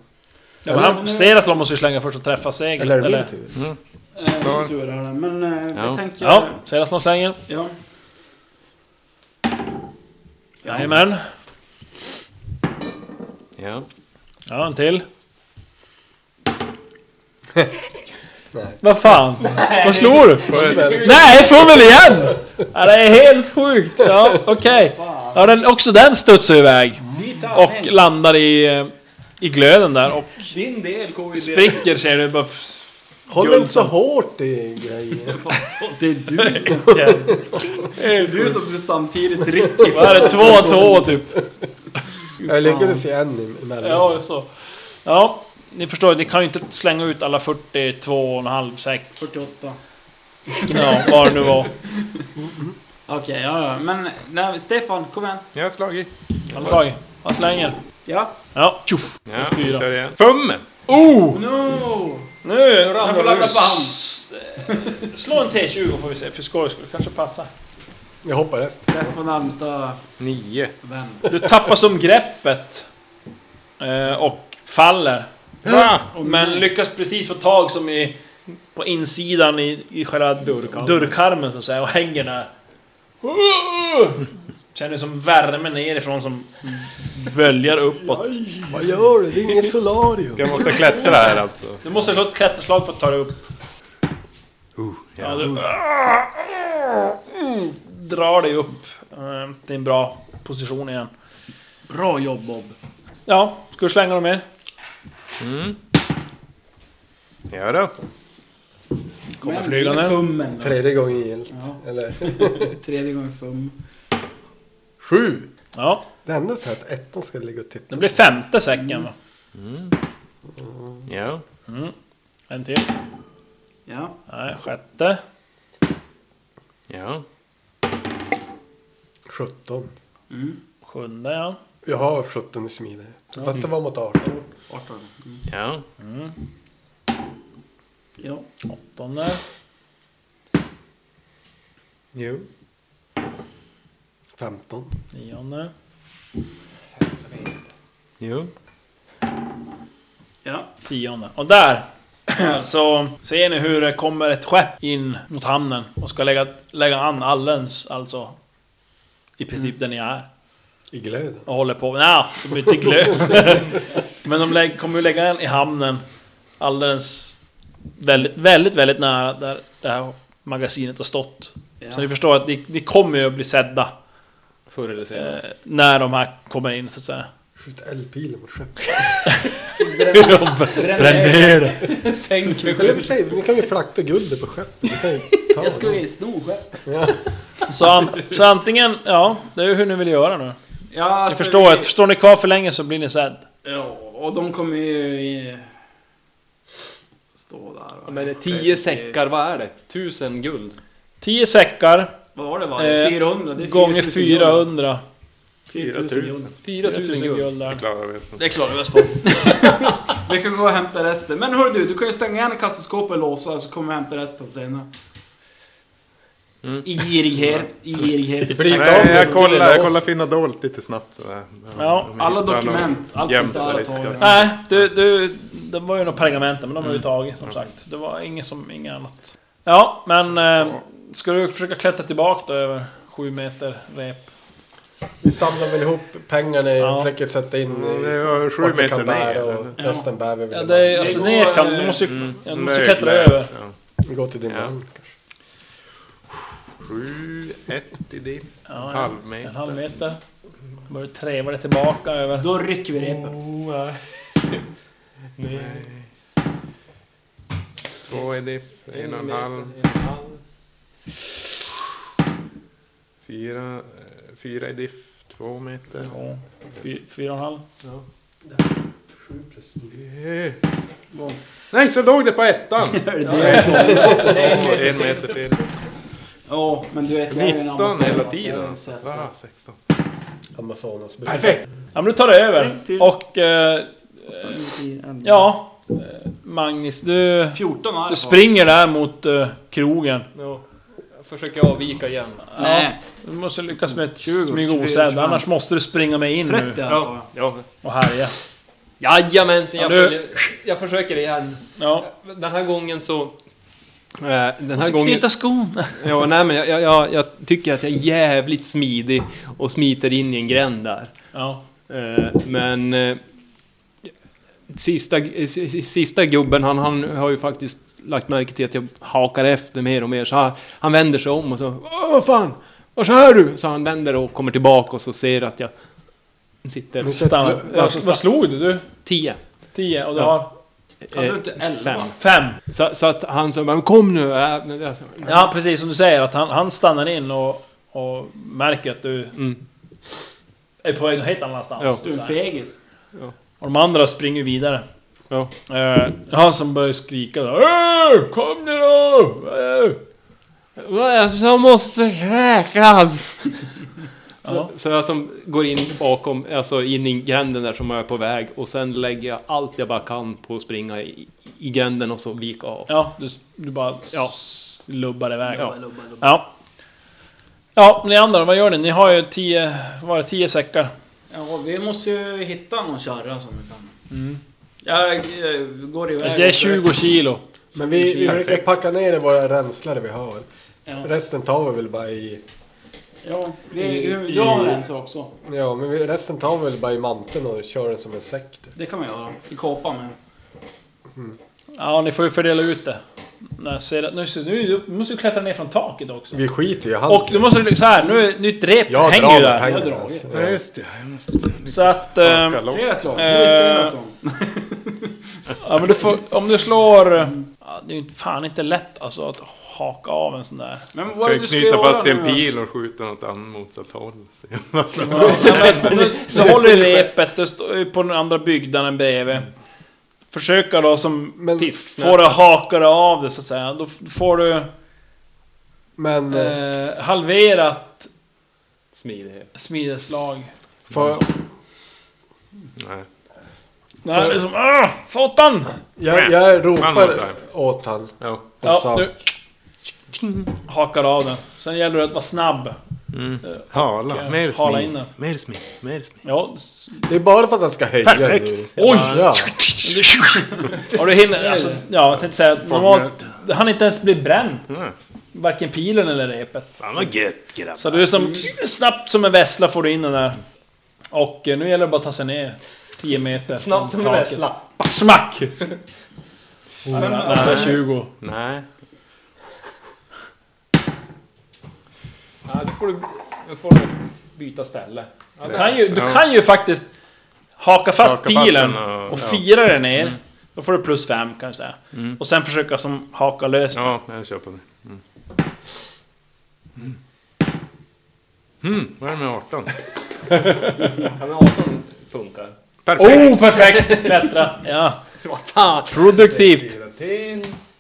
B: Ja, men han ser att de måste slänga först och träffa seglet.
F: Eller typ. är det min tur?
H: Eh, min tur är det, Men eh,
G: Ja.
H: jag tänker...
B: Ja,
H: Ja.
B: ser att de slänger. Jajamän.
G: Ja.
B: Ja, en till. Vad fan? Vad slår du? Nej, fummel igen! Ja, det är helt sjukt. Ja, okej. Ja, den, också den studsar iväg. Och landar i, eh, i glöden där och
H: Din del går ju ner.
B: spricker ser du bara... f-
F: Håll inte så hårt i grejen.
H: Det är du. Det är du som blir samtidigt rycker.
B: Vad är det? Två, två typ.
F: Jag lyckades se en emellan.
B: Ja, så. Ja, ni förstår, ni kan ju inte slänga ut alla 42,5 säck.
H: 48.
B: Ja, vad det nu var.
H: Okej, ja, ja. Men nej, Stefan, kom igen.
G: Jag har slagit.
B: Han tar Han slänger.
H: Ja.
B: Ja, tjoff!
G: Ja,
B: Fyra.
G: kör igen. Fem!
H: No!
B: Nu
H: ramlar
B: jag får
H: du.
B: ladda på hand. Eh, Slå en T20 får vi se, för skojs skull. Kanske passar.
F: Jag hoppar efter.
H: Träffa närmsta
G: Nio.
H: vän.
B: Du tappar som greppet. eh, Och faller.
G: Ja.
B: Men lyckas precis få tag som i... På insidan i, i själva dörrkarmen så att säga och hänger där. Känner som värmen nerifrån som Mm. böljar uppåt.
F: Vad gör du? Det är inget solarium.
G: Jag måste klättra här alltså.
B: Du måste slå ett klätterslag för att ta dig upp.
H: Uh,
B: ja. du Mm, drar dig upp eh, till en bra position igen.
H: Bra jobb Bob.
B: Ja, ska du slänga dem mer?
G: Ja då.
B: Kommer
H: Men,
B: flygande.
H: Fummen då.
F: Tredje gången gillt.
H: Ja,
F: Eller?
H: tredje gången fum.
F: Sju!
B: Ja,
F: Det enda så här att ettan ska ligga och titta.
B: det blir femte säcken
H: Mm.
B: va?
G: Ja.
B: En till.
H: Ja.
B: Nej, sjätte.
G: Ja.
F: 17.
B: Sjunde ja.
F: Jag har 17 i smide. Fast det var mot 18.
H: 18. Mm.
G: Ja.
H: Ja.
B: Åttonde.
G: Jo.
F: 15.
B: Nionde.
G: Jo.
H: Ja.
B: Tionde. Och där! Så ser ni hur det kommer ett skepp in mot hamnen och ska lägga, lägga an allens, alltså. I princip
H: Mm.
B: där ni är.
F: I glöden.
B: och håller på. Nja, de är inte glöd. Men de lägger, kommer ju lägga den i hamnen alldeles väldigt, väldigt, väldigt nära där det här magasinet har stått.
H: Ja.
B: Så ni förstår att ni, ni kommer ju att bli sedda
D: Förr eller senare.
B: eh, när de här kommer in så att säga.
F: Skjut eldpilen mot skeppet.
B: Bränn ner det!
H: Sänk mig
F: Eller i
H: själv.
F: och för sig, nu kan vi frakta guldet på skeppet. Vi kan ju ta
H: Jag ska
F: det.
H: ju sno skeppet.
B: Så, an, så antingen, ja, det är ju hur ni vill göra nu.
H: Ja,
B: Jag
H: alltså,
B: förstår
H: vi-
B: att står ni kvar för länge så blir ni sedd.
H: Ja, och de kommer ju... i- Stå där.
D: Ja, Men tio säckar, vad är det? Tusen guld?
B: 10 säckar
H: Vad var det
B: Eh,
H: varje? 400? Det är
B: gånger
H: 4000
B: 400.
H: guld. 4000
D: Fyra tusen
B: 4000
D: guld.
B: guld där.
G: Klarar vi oss nu.
H: Det klarar vi oss på. vi kan gå och hämta resten. Men hör du, du kan ju stänga igen kassaskåpet och låsa så kommer vi hämta resten senare. I girighet, i girighet. i
F: Blir av
H: stack.
G: Nej,
F: med
G: jag
F: så
G: kollar,
F: blir
G: jag
F: det
G: kollar
F: loss.
G: fina dolt lite snabbt. sådär.
B: Ja,
G: de
H: Alla
G: hittar nog
H: dokument, allt sånt
G: jämt
H: där
G: risk,
H: tar vi.
G: alltså.
B: Nej, du, du, det var ju några pergamenten, men de har ju tagit som sagt. Det var inget som, inget annat. Ja, men... Eh, ska du försöka klättra tillbaka då över sju meter rep?
F: Vi samlar väl ihop pengarna i
B: Ja.
F: försöker sätta in
G: Mm,
F: i
G: Det var sju
F: vart det
G: meter
F: kan bära
G: ner.
F: och resten bär vi
B: Ja,
F: väl.
B: det är, alltså
H: går,
B: ner kan du,
H: eh,
B: måste ju,
G: Mm.
B: ja, du måste
G: Nöjd,
B: klättra
G: nöjd.
B: över.
G: Ja.
F: Vi går till din
G: Ja.
F: man.
G: Sju, ett i diff.
B: Ja, ja.
G: Halv
B: En
G: meter.
B: halv meter. Börjar treva dig tillbaka över.
H: Då rycker vi repet.
G: Två i diff. En och en halv. Fyra, eh, fyra i diff. Två meter.
B: Ja, fy- Fyra och en halv.
G: Eh. Nej, så låg det på ettan! Åh, en meter till.
H: Ja, men du vet... jag är en
G: 19
H: ambassad,
G: hela
H: alltså, jag har
G: tiden.
H: inte sett det.
G: Va, 16.
F: Amazonas
B: Perfekt! Ja, men du tar dig över. Och... Eh, ja... eh, Magnus, du...
H: 14 är
B: Du
H: det
B: springer där mot eh, krogen.
D: Ja. Jag försöker avvika igen.
H: på. Nej,
B: Du måste lyckas med ett
H: 20,
B: smyg
H: 20,
B: osedd,
H: 25.
B: annars måste du springa med in
H: 30
B: nu
H: är det på.
G: Ja,
B: och härja.
D: Jajamensan, jag,
B: Ja, du-
D: följer, jag försöker igen.
B: Ja.
D: Den här gången så... eh, Den här gången...
B: Knyta skon!
D: Ja, nej, men jag, jag- jag, jag tycker att jag är jävligt smidig och smiter in i en gränd där.
B: Ja.
D: Eh, Men... eh, Sista, eh, sista gubben, han, han har ju faktiskt lagt märke till att jag hakar efter mer och mer. Så han, han vänder sig om och så... "Åh, Vad fan! Vad kör du? Så han vänder och kommer tillbaka och så ser att jag... Sitter...
B: Stanna. Vad, vad slog du? du?
D: Tio.
B: 10 och du
D: Alltså, Ja.
B: har
H: Har du inte elva?
D: fem.
B: 5.
D: Så, så att han sa men kom nu! äh, men alltså,
B: Ja, precis som du säger, att han, han stannar in och, och märker att du
D: Mm.
B: är på väg någon helt annanstans.
D: Ja.
B: så
H: Du är
B: att
H: en
B: säga.
H: fegis.
B: Och de andra springer vidare.
D: Ja.
B: Eh, han som börjar skrika då. "Åh, Kom nu då! Äh!" Åh!"
D: "Vad, Jag måste kräkas!
B: Ja.
D: Så, så jag som går in bakom, alltså in i gränden där som jag är på väg och sen lägger jag allt jag bara kan på att springa i, i gränden och så vika av.
B: Ja, du, du bara
D: Ja.
B: lubbar iväg.
D: Ja.
H: Lubba, lubba.
B: Ja. Ja, ni andra, vad gör ni? Ni har ju tio, vad var det, tio säckar.
H: Ja, vi måste ju hitta någon kärra som vi kan... Jag eh, går iväg
B: Det är
H: och försöker-
B: 20 kilo.
F: Men vi, vi brukar packa ner i våra ränslare vi har.
H: Ja.
F: Resten tar vi väl bara i...
H: Ja,
F: I-
H: vi, hur-
F: i-
H: jag har en så också.
F: Ja, men vi, resten tar vi väl bara i manteln och kör den som en säck. typ.
H: Det kan man göra. I kåpan med.
B: Ja, ni får ju fördela ut det. Nej, ser att, nu, ser- nu du måste du klättra ner från taket också.
F: Vi skiter ju i handen.
B: Och du måste du- så här, nu är nytt rep
F: jag
B: hänger
F: drar
B: ju
F: med
B: där.
F: pengarna,
H: Jag drar.
F: alltså.
G: ja just det. Jag måste
B: Så att... ehm,
G: packa loss.
H: Ser jag klart?
B: Eh.
H: Jag ser att de...
B: ja, men du får, om du slår... eh, ja, det är ju fan inte lätt alltså att haka av en sån där.
H: Men vad
G: Kan
H: är
G: ju
H: det du ska
G: knyta
H: göra
G: fast
H: nu?
G: en pil och skjuta något annat motsatt håll. Se om man slår.
B: Ja, men, så håller i repet, du står ju på den andra byggnaden bredvid. Försöka då som
F: Men-
B: pisk, få det haka det av det så att säga. Då f- får du
F: Men eh,
B: eh, halverat
D: Smidighet.
B: smideslag.
F: får,
G: Nej.
B: Nej, det är som ah, satan!
F: jag, jag
G: Man måste ha.
F: ropar åt han en
G: Ja.
B: Ja,
F: sak.
B: nu hakar av den. Sen gäller det att vara snabb.
G: Hala. Mer
B: Hala
G: smid.
B: in den.
G: Mer smid. Mer smid.
B: Ja, s-
F: Det är bara för att han ska höja Perfekt. nu.
B: Oj!
F: Ja.
B: Och du hinner... Alltså, ja, jag tänkte säga att normalt... Det hann inte ens bli bränt. Varken pilen eller repet.
G: Fan vad gött grabbar.
B: Så du är som... Snabbt som en vessla får du in den där. Och eh, nu gäller det bara att ta sig ner. 10 meter.
J: Snabbt som en vessla.
B: Smack!
J: eh,
B: Nära 20.
G: Nej.
J: Ja, då får du, då får du byta ställe.
B: Du kan ju, du kan ju faktiskt haka fast
G: Haka fast
B: pilen
G: den och-
B: och
G: ja.
B: fira den
J: Mm.
B: ner. Då får du plus 5 kan jag säga. Och sen försöka som haka löst den.
G: Ja, jag kör på det. Mm. Mm, vad är det med 18?
D: Ja, men 18 funkar.
G: Perfekt!
B: Oh, perfekt! Klättra! Ja.
D: Vad fan!
B: Produktivt!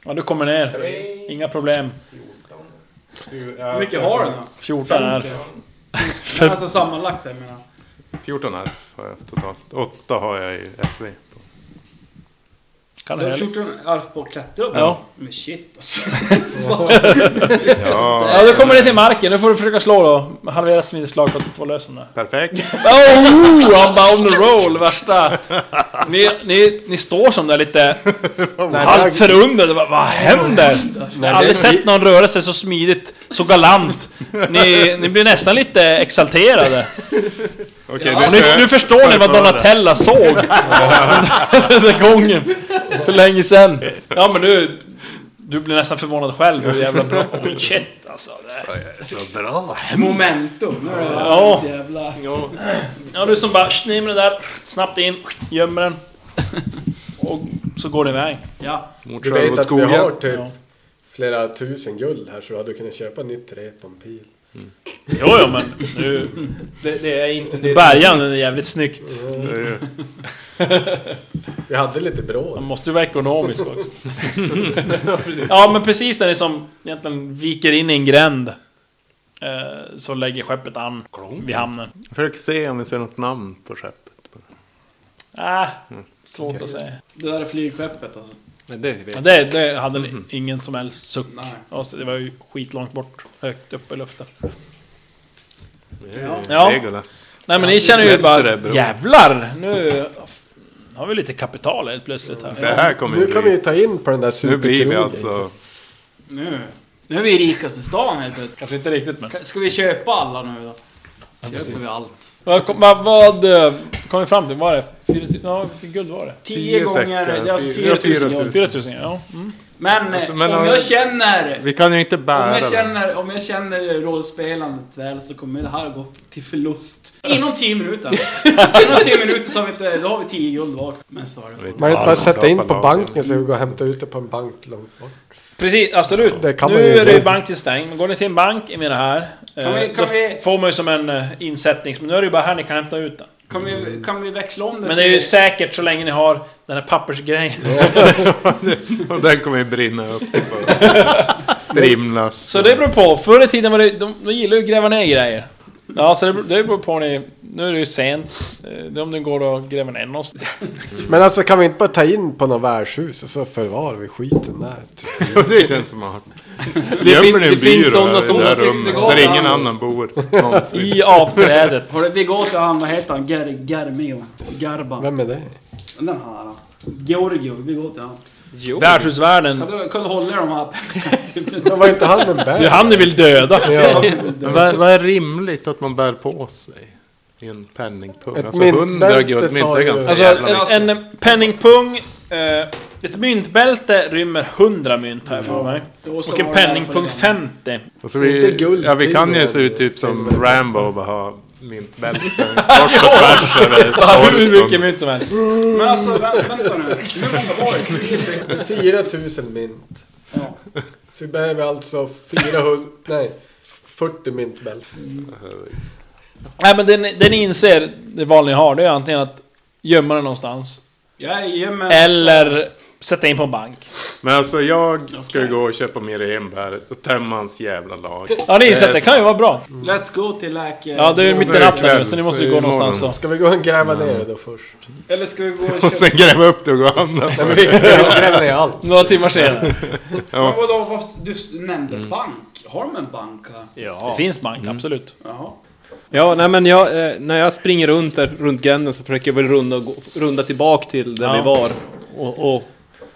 B: Ja, du kommer ner. Inga problem.
H: Hur mycket har den då?
B: 14 är...
H: Alltså sammanlagt jag menar.
G: 14 F har jag totalt. 8 har jag i FV. på.
B: Kan
H: Du
B: du
H: har
B: heller.
H: 14 arv på att klättra på.
B: Ja.
H: Men shit alltså.
G: Ja,
B: Ja, du kommer ner till marken. Nu får du försöka slå då. Halverat mitt slag för att få lösa den där.
G: perfekt.
B: Oh! Han bara on the roll, värsta... Ni, ni, ni står som där lite halvt förundrade. Vad, vad händer? Jag har aldrig sett någon röra sig så smidigt, så galant. Ni, ni blir nästan lite exalterade.
G: Okej,
B: Och nu, nu förstår ni vad Donatella såg den där gången. För länge sedan. Ja men du... Du blir nästan förvånad själv hur jävla bra... Oh, shit alltså. Det.
H: Momentum. Nu är det
B: Ja.
H: alldeles jävla...
B: Ja du som bara snim den där, snabbt in, gömmer den. Och så går det iväg.
H: Ja.
F: Du vet att vi har typ flera tusen guld här så du hade kunnat köpa nytt rep och en pil.
B: Jo, jo men nu...
D: Det, det är inte det
B: Bärgaren den är jävligt snyggt.
F: Vi hade lite bråd.
B: Man måste ju vara ekonomisk också. ja men precis när ni som egentligen viker in i en gränd. eh, Så lägger skeppet an vid hamnen.
G: Jag försöker se om vi ser något namn på skeppet.
B: Ah, svårt att säga.
H: Det där är flygskeppet alltså.
D: Men det vet
B: Ja,
D: jag.
B: det, det hade
D: Mhm.
B: ni ingen som helst suck.
H: Nej.
B: Alltså, det var ju skitlångt bort, högt upp i luften.
H: Ja.
B: Ja.
G: Mm. Legolas.
B: Nej men ni känner ju
G: det där
B: bara
G: bron.
B: jävlar, nu har vi lite kapital helt plötsligt här.
G: Det här kommer ju
F: Nu kan vi
G: bli...
F: ju ta in på den där
G: Nu blir vi
F: superkrogen.
G: alltså...
H: Nu. Nu är vi i rikaste stan helt plötsligt.
B: Kanske inte riktigt men...
H: Ka- Ska vi köpa alla nu då? Köper vi allt.
B: Vad kom, vad, vad eh, kom vi fram till? Vad var det? Fyra tu- ja, hur mycket guld var det?
H: 10 gånger,
G: säckar,
H: det är alltså
G: fyra-
H: 4000
G: fyra
H: gånger.
G: tusen.
B: 4000 ja. Mm.
H: Men,
G: Alltså,
H: eh,
G: men
H: om
G: om-
H: jag känner...
G: Vi kan ju inte
H: Om
G: bära
H: jag,
G: den.
H: känner, om jag känner rollspelandet väl så kommer det här gå till förlust. Inom 10 minuter. Inom 10 minuter så har vi inte, då har vi 10 guld var. Men så har det fått.
F: Man kan inte bara sätta in på
G: Palaver.
F: banken så vi går och hämtar ut det på en bank långt bort.
B: Precis, absolut.
F: Det kan man
B: nu
F: ju
B: är
F: inte.
B: det ju banken stängd, men går ni till en bank, jag menar här.
H: Kan vi-
B: eh,
H: kan
B: då
H: vi-
B: får man ju som en eh, insättning, men nu är det ju bara här ni kan hämta ut den.
H: Kan vi, kan vi växla om det
B: Men det är ju säkert så länge ni har den här pappersgrejen.
G: Och den kommer ju brinna upp. och Strimlas.
B: Så det beror på. Förr i tiden var det, de, de gillade ju att gräva ner grejer. Ja, så det, beror- det beror på ni... Nu är det ju sent. Eh, Det är om det går att gräva ner något.
F: Men alltså kan vi inte bara ta in på något värdshus och så förvarar vi skiten där?
G: Det känns smart.
D: Det, fin,
G: Gömmer ni
D: det
G: en byrå
D: finns sådana
G: där i
D: som...
G: det där
H: måste-
G: rummet
H: det går
G: där ingen
H: bra.
G: annan bor någonsin?
B: I avträdet.
H: Har det- Vi går till han, vad heter han? Ger, Germion? Garban?
F: Vem är det?
H: Den här. Georgio, vi går till han. Kan
B: Värdshusvärden.
H: du, kan du hålla i de här?
F: Men var inte han en
B: Det är
F: bär?
B: han ni vill döda.
G: Men vad, vad är rimligt att man bär på sig? I en penningpung?
F: Ett
G: Alltså
F: mynt-
G: 100
F: bälte
G: guldmynt
F: tar
G: är
F: ju-
G: ganska
B: Alltså,
G: jävla mycket.
B: en, en penningpung... Eh, ett myntbälte rymmer 100 mynt har jag för mig. Och en penningpung 50.
G: Alltså, vi,
F: inte guld
G: ja, vi
F: till
G: kan ju
F: det,
G: se ut typ
F: det-
G: som
F: silver.
G: Rambo och bara ha myntbälte kors och tvärs över
B: Hur mycket
G: torson.
B: mynt som helst.
H: Men alltså, vä- vänta nu. Hur många var det? Tre stycken?
F: 4000 mynt.
H: Ja.
F: Så vi behöver alltså 400... nej. 40 myntbälten.
B: Nej men den, den inser, det val ni har, det är antingen att gömma den någonstans.
H: Jajamän.
B: Eller sätta in på en bank.
G: Men alltså jag ska ju gå och köpa mer enbär och tömma hans jävla lag.
B: Ja ni inser att det kan ju vara bra.
H: Let's go till läke...
B: Ja det är ju mitt i
G: det är
B: natten nu
G: kväll,
B: så ni måste ju
G: så
B: gå
G: imorgon.
B: någonstans så.
F: Ska vi gå och gräva ner det då först?
H: Eller ska vi gå och
G: Och
H: köpa...
G: sen gräva upp det och gå och handla.
F: Nej men vi gräver ner allt.
B: Några timmar senare.
H: Men vadå, vad- du s- nämnde bank. Har de en bank här?
B: Ja. Det finns bank, absolut.
H: Jaha.
D: Ja, nej men jag, eh, när jag springer runt där, runt gränden så försöker jag väl runda, gå, runda tillbaka till där
B: Ja.
D: vi var. Och, och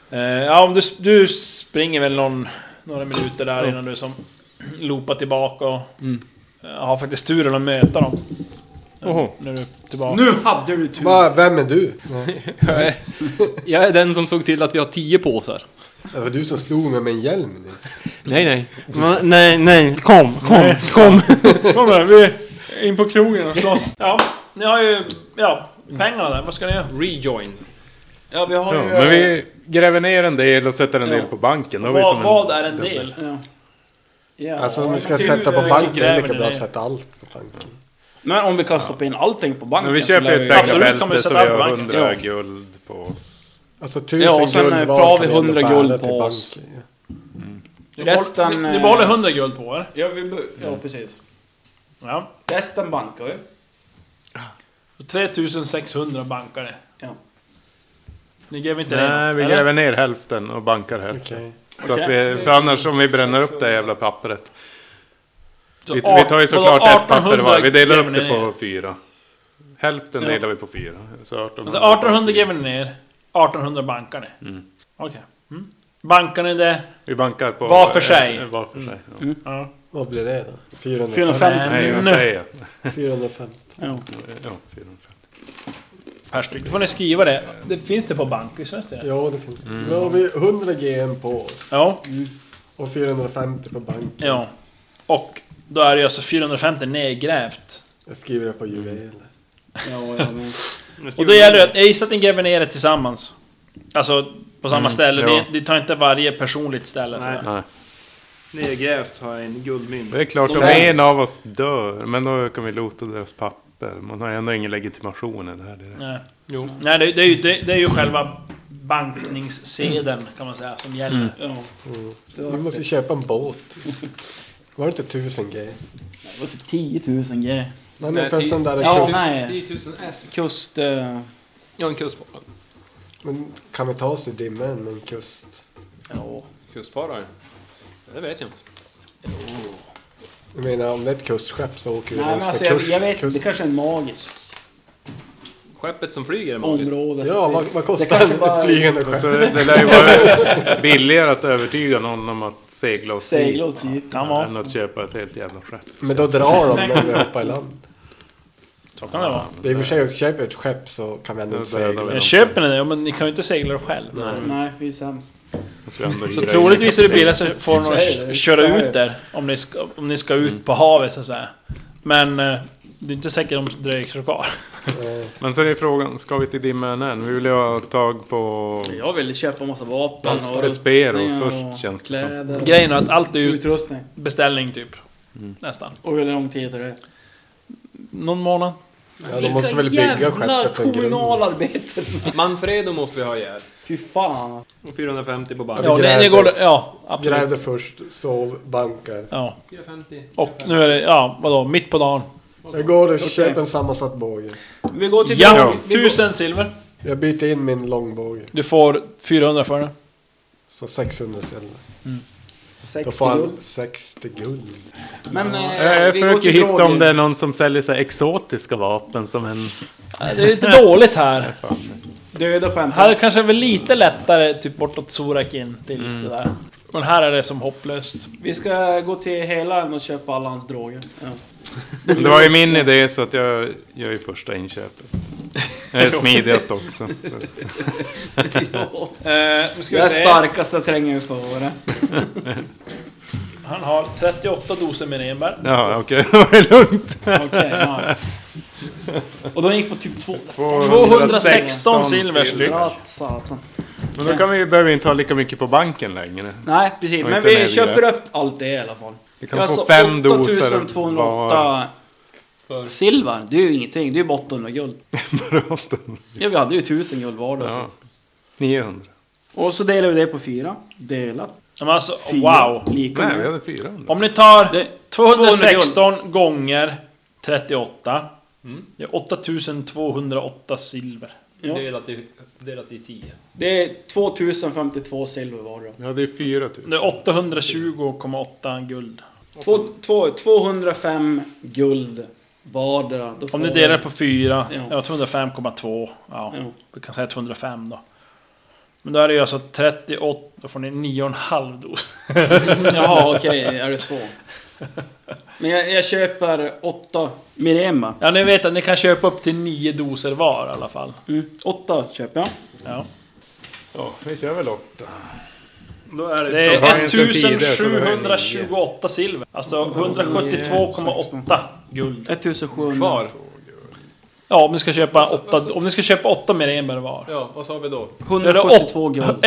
B: Eh, ja om du, du springer väl någon, några minuter där innan du som loopar tillbaka och eh, har faktiskt turen att möta dem. Eh,
D: Oho.
B: När du är tillbaka.
H: Nu hade du tur!
F: Va, vem är du?
D: jag, är, jag är den som såg till att vi har tio påsar.
F: Det var du som slog mig med en hjälm nyss.
D: Nej, nej. Va, nej, nej. Kom, kom, kom.
B: Kom här, vi är in på krogen och slåss. Ja, ni har ju... Ja, pengarna där. Vad ska ni göra?
D: Rejoin.
H: Ja, vi har
G: Ja,
H: ju...
G: men vi gräver ner en del och sätter en del på banken. Då är vi som
B: Vad,
G: en...
B: vad är en del?
H: Ja.
B: Ja,
F: Alltså om vi ska
B: hur-
F: sätta på
B: hur
F: banken, det är
B: gräver
F: lika
B: ni
F: bra
B: ner?
F: att sätta allt på banken.
H: Men om vi kan stoppa in allting på banken
G: Men vi
H: så
G: köper
H: lär
G: ett
B: Absolut kan man ju
G: ägarbälte så
B: sätta
G: vi
B: allt på
G: har
B: banken.
G: 100 guld på oss.
F: Alltså tusen
H: Ja, och sen, eh,
F: guld var
H: bra
F: kan
H: vi
F: vi ändå
H: 100
F: bära
H: guld
F: till
H: på oss.
F: banken, ja.
B: Ni behåller-
H: Resten...
B: Ni, ni
H: eh,
B: behåller 100 guld på er.
H: Ja, vi... be-
B: Mm.
H: Ja, precis.
B: Ja.
H: Resten bankar vi.
B: Och 3600 bankar ni.
H: Ja.
B: Ni gräver inte
G: Nej, vi
B: eller?
G: gräver ner hälften och bankar hälften.
F: Okej.
G: Så att vi, för annars om vi bränner upp det jävla pappret.
B: Så
G: Vi, vi
B: art-
G: tar ju såklart
B: vadå,
G: ett papper
B: 1800
G: var. Vi delar
B: Alltså, gräver ni
G: upp det
B: ner.
G: på fyra. Hälften
B: Ja.
G: delar vi på fyra. Så 1800,
B: Alltså 1800 gräver ni ner. 1800 bankar ni. Okej. Mm. Bankar ni det?
G: Vi bankar på...
B: Var för sig. Mm.
G: eh, Var för sig. ja.
B: Ja.
F: Vad blir det då? 450.
H: 450.
G: Nej, vad
B: Nej.
G: säger jag?
F: 450.
H: Ja.
G: Ja, 450.
B: Per styck. Då får ni skriva det. det finns det på bank? Visst finns det?
F: Ja, det finns det.
H: Mm.
F: Nu har vi 100 GM på oss
B: Ja.
F: och 450 på banken.
B: Ja. Och då är det ju alltså 450 nedgrävt.
F: Jag skriver det på
H: Mm.
F: juveler.
H: Ja, ja, men...
B: Och då gäller det att, jag gissar att ni gräver ner det tillsammans. Alltså på samma ställe.
G: Mm, ja.
B: Ni, ni tar inte varje personligt ställe. sådär.
G: Nej.
J: Nedgrävt har jag en guldmynt.
G: Det är klart, om en av oss dör, men då kan vi lota deras papper. Man har ju ändå ingen legitimation i det här. Det är det.
B: Nej, Nej det, det, är ju, det, det är ju själva bankningssedeln kan man säga som gäller.
H: Ja.
F: Vi måste köpa en båt. Var det inte 1000 G?
H: Det var typ 10 000 G.
F: Nej, men för en sån där
H: Ja,
F: kust.
H: nej.
D: 10 000 S.
H: Kust... eh,
D: Ja, en kustfarare.
F: Men kan vi ta oss i dimmen med en kust?
H: Ja.
D: Kustfarare? Det vet jag inte.
F: Jag menar, om det är ett kustskepp så åker vi
H: Nej, men
F: längs
H: alltså
F: med
H: jag,
F: kurs,
H: jag vet inte. Det
F: kust.
H: kanske är en magisk
D: Skeppet som flyger är magiskt.
H: område. Typ så
F: Ja,
H: att
F: vad,
H: vi-
F: vad
H: det
F: kostar
H: kanske
F: ett
H: bara-
F: flygande
G: Så
F: skepp?
G: det lär ju vara billigare att övertyga någon om att segla oss
H: Segla
G: dit.
H: oss hit.
B: Kan vara.
G: Än att köpa ett helt jävla skepp.
F: Men då drar de när vi hoppar i land.
B: Så kan det vara.
F: Det är i och för sig, köper vi ett skepp så kan vi ändå inte
G: Då dödar vi
F: segla.
G: dem.
B: Men köper ni det? Ja, men ni kan ju inte segla det själv.
H: Nej, vi är sämst.
G: Så, Alltså, ändå
B: Så
G: hyra
B: troligtvis
G: in
B: är
G: ett
B: det billigast så får någon
H: Så är det,
B: att
H: visst
B: köra
H: är det.
B: ut där. Om ni ska, om ni ska ut på havet så att säga. Men eh, det är inte säkert om det dröjer så kvar.
G: Men så är det frågan, ska vi till Dimön än? Vi vill ju ha tag på...
H: Jag ville köpa massa vapen
G: Fast
H: och
G: Vespero
H: rustningar
G: först,
H: och
G: känns det som.
H: kläder.
B: Grejen är att allt är ju
H: Utrustning.
B: beställning typ. Nästan.
H: Och hur lång tid är det?
B: Någon månad.
F: Ja, de måste väl bygga skeppet från grunden.
H: kommunalarbeten!
D: Manfredo måste vi ha ihjäl.
H: Fy fan.
D: Och 450 på banken.
B: Ja,
F: vi
B: det,
F: grävde.
B: det går, ja absolut.
F: Grävde först, sov, bankar.
B: Ja.
D: 450.
B: Och nu är det, ja vadå, mitt på dagen.
F: Jag går och köper en sammansatt båge.
H: Vi går till...
B: Ja, tusen silver.
F: Jag byter in min långbåge.
B: Du får 400 för den.
F: Så 600 sedlar.
G: Mm.
H: Sex
F: Då får han 60 guld.
H: Men eh,
G: Jag jag
H: vi går
G: försöker
H: till
G: hitta om
H: Roger.
G: det är någon som säljer så här exotiska vapen som en...
B: Det är lite dåligt här.
H: Döda på en
B: Här kanske är väl lite lättare, typ bortåt Sorakin till
H: Mm.
B: det där. Men här är det som hopplöst. Eh,
H: Vi ska gå till hela och köpa alla hans droger. Ja.
G: Det var ju min idé så att jag gör ju första inköpet. Det är smidigast också. Så.
B: Eh, nu ska vi
H: Jag är
B: se.
H: starkast, jag tränger ut för det.
B: Han har 38 doser med enbär.
G: Ja, okej. Det var ju lugnt.
H: Okej, ja. Och de gick på typ två.
B: 216 silver styck.
H: Ja, satan.
G: Men då kan vi, behöver vi inte ha lika mycket på banken längre.
H: Nej, precis.
G: Och
H: Men
G: inte
H: vi
G: den här
H: köper
G: vidare.
H: upp allt det i alla fall.
G: Vi kan få fem doser
H: 8208
C: För-
H: silver. Det är ju ingenting. Det är ju bara 800 guld.
G: Bråten.
H: Ja, vi hade ju 1000 guld var då. så
G: Ja.
H: att-
G: 900.
H: Och så delar vi det på fyra. Delat.
B: Men alltså,
H: Fyra.
B: wow.
H: Lika
G: Nej,
H: med.
G: vi hade 400.
B: Om ni tar
H: Det-
B: 216 gånger 38.
H: Mm.
B: Det är 8208 silver.
H: Ja.
J: Delat i, delat i 10.
H: Det är 2052 silver var då.
G: Vi hade ju 4000.
B: Det är 820,8 guld.
H: Två, två, 205 guld vardera. Då får
B: Om ni delar på fyra,
H: Ja.
B: ja. 205,2. Ja,
H: Ja.
B: vi kan säga 205 då. Men då är det ju alltså 38, då får ni 9,5 dos.
H: Jaha, okej, är det så? Men jag, jag köper åtta Mirema.
B: Ja, ni vet att ni kan köpa upp till 9 doser var i alla fall.
H: Mm. Åtta köper jag.
B: Ja.
G: Ja, vi kör väl upp.
J: Då är det...
B: Det
G: Jag har
B: är
G: inte tidigare, så då är det nio.
B: 1728 silver. Alltså 172,8 guld.
H: 1700.
D: Var?
B: Ja, om ni ska köpa åtta, om ni ska köpa åtta mer enbär var.
D: Ja, vad sa vi då?
B: Då är det
H: 172
B: åt-
H: guld.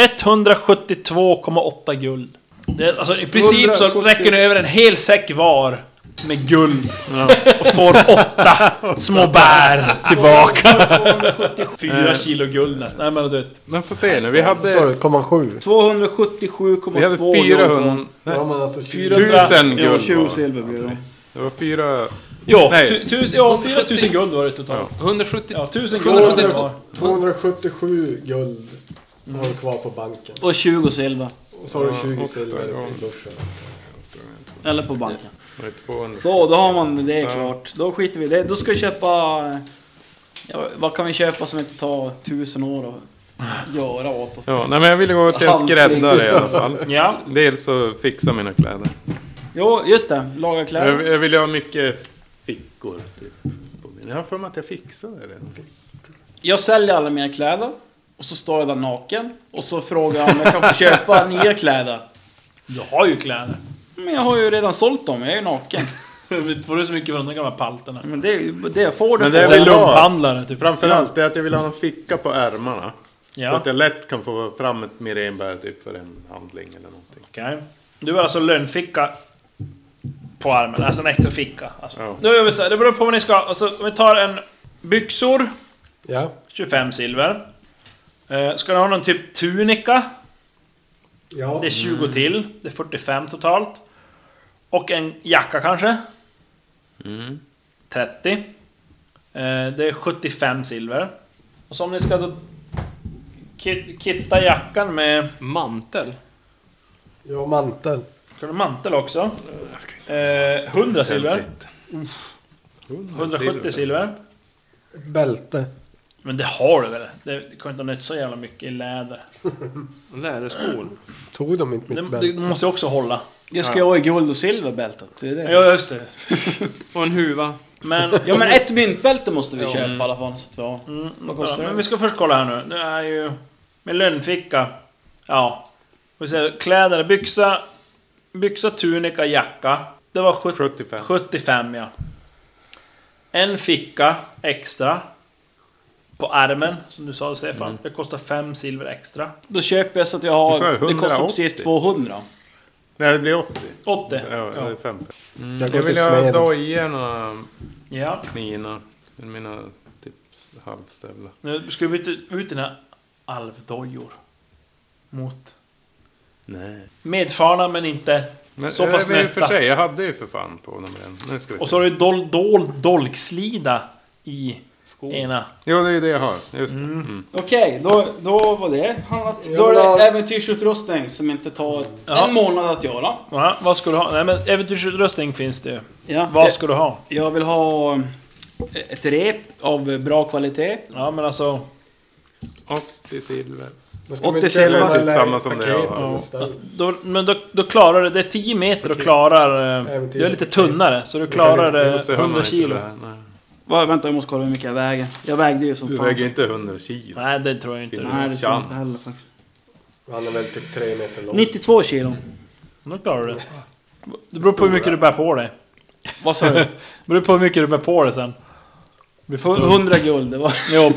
B: 172,8 guld. Det, är- alltså, I princip så
D: 170.
B: räcker ni över en hel säck var med guld. Och får åtta små bär tillbaka. Eh. Fyra kilo guld nästan. Nej men du vet.
G: Men får se nu, vi
E: Sa
G: hade...
E: du, komma sju?
H: 277,2
G: Vi hade 400...
E: Då har man alltså 20.
G: 1000
H: Ja,
G: guld
H: 20
G: var det.
H: silver blir det.
G: Det var fyra...
B: Ja,
G: Nej.
B: tu, tu, ja 4000 guld var det totalt.
D: 170...
B: Ja, 1000 guld var
E: 277 guld har du kvar på banken.
H: Och 20 silver.
E: Och så har du 20
G: Mm. åtta
E: silver
G: gånger.
E: till duschen.
H: Eller på banken.
G: var det 200.
H: Så, då har man det klart. Då skiter vi i det. Då ska vi köpa... Ja, vad kan vi köpa som inte tar tusen år att göra åt oss?
G: Ja, nej men jag ville gå till en
H: Hamstring.
G: skräddare i alla fall.
B: Ja.
G: Dels så fixa mina kläder.
H: Jo, just det. Laga kläder.
G: Jag, jag ville ha mycket fickor. Typ, på min. Jag har för mig att jag fixade det.
H: Jag säljer alla mina kläder och så står jag där naken och så frågar jag om jag kan få köpa nya kläder.
B: Du har ju kläder.
H: Men jag har ju redan sålt dem, jag är ju naken.
B: Får du så mycket för de där gamla palterna?
H: Men det, är ju- det jag får det
G: Men
H: för.
G: det är
B: Sen
G: vill ha.
B: lumphandlare typ.
G: Framförallt är att jag vill ha en ficka på ärmarna. Så
B: Ja.
G: att jag lätt kan få fram ett mirenbär typ för en handling eller någonting.
B: Okej. Du har alltså lönnficka på armen, alltså en extra ficka. Alltså.
G: Ja.
B: Nu gör vi så här, det beror på vad ni ska. Alltså, om vi tar en byxor,
E: Ja.
B: 25 silver. Eh, ska ni ha någon typ tunika?
E: Ja.
B: Det är 20 till, det är 45 totalt. Och en jacka kanske? 30. Eh, det är 75 silver. Och så om ni ska då kit- kitta jackan med...
D: Mantel?
E: Ja, mantel.
B: Ska du ha mantel också? Eh, 100 silver. 170 silver.
E: Bälte.
B: Men det har du väl? Det kommer inte ha nytt så jävla mycket i läder.
D: Läderskor?
E: Tog de inte
B: Det,
E: mitt
B: det
E: bälte?
B: måste ju också hålla.
H: Det ska jag ha i guld och silverbältet. Det är det.
B: Ja, just det.
D: Och en huva?
B: Men...
H: Ja men ett myntbälte måste vi köpa i alla fall. Så att, ja.
B: Mm,
H: Vad kostar
B: ja,
H: det?
B: men vi ska först kolla här nu. Det är ju... Med lönnficka. Ja. Vi säger kläder, byxa... Byxa, tunika, jacka. Det var 70,
G: 75.
B: 75 ja. En ficka extra. På ärmen, som du sa Stefan. Det kostar 5 silver extra.
H: Då köper jag så att jag
G: Jag sa ju
H: har... Det kostar
G: 180.
H: precis 200.
G: Nej, det blir 80.
B: 80.
G: Ja, eller 50.
E: Mm. Jag
G: Jag
E: går till
G: vill ha
E: smeden.
G: dojerna,
B: Ja.
G: mina, mina typ halvstövlar.
B: Nu ska vi byta ut dina alvdojor. Mot...
G: Nej.
B: Medfarna men inte
G: Men,
B: så pass
G: men i och för
B: nätta.
G: sig, jag hade ju för fan på dem redan. Nu ska vi
B: Och
G: se.
B: så har du dold, dold, dolkslida i ena.
G: Jo, det är ju det jag har. Just det. Mm.
H: Okej, då, då var det handlat.
E: Jag
H: Då är
E: vill
H: det
E: ha-
H: äventyrsutrustning som inte tar
B: Ja.
H: en månad att göra.
B: Ja, vad ska du ha? Nej men äventyrsutrustning finns det ju.
H: Ja,
B: Vad
H: det-
B: ska du ha?
H: Jag vill ha eh, ett rep av bra kvalitet.
B: Ja men alltså...
G: 80 silver.
E: Men ska man
H: 80
E: inte köpa
H: silver.
E: alla
G: Typ samma som det jag har.
E: paketen istället?
B: Då, men då, då klarar du... Det är 10 meter och klarar... eh,
E: Äventyr.
B: Du är lite tunnare så du klarar
G: Och så
B: eh,
G: hör man
B: 100
G: inte
B: kilo.
G: det här, nej.
H: Va, vänta, jag måste kolla hur mycket jag väger. Jag vägde ju som
G: Du
H: fan.
G: väger inte 100 kilo.
B: Nej det tror jag inte.
G: Finns
H: Nej, det tror jag
G: Chans.
H: inte heller faktiskt.
E: Han är väl typ tre meter lång.
H: 92 kilo.
B: Då klarar du det. Det beror på hur mycket du bär på dig.
H: Vad sa du?
B: Det beror på hur mycket du bär på dig sen. Vi får- hund-
H: 100 guld, det var...
B: Jo,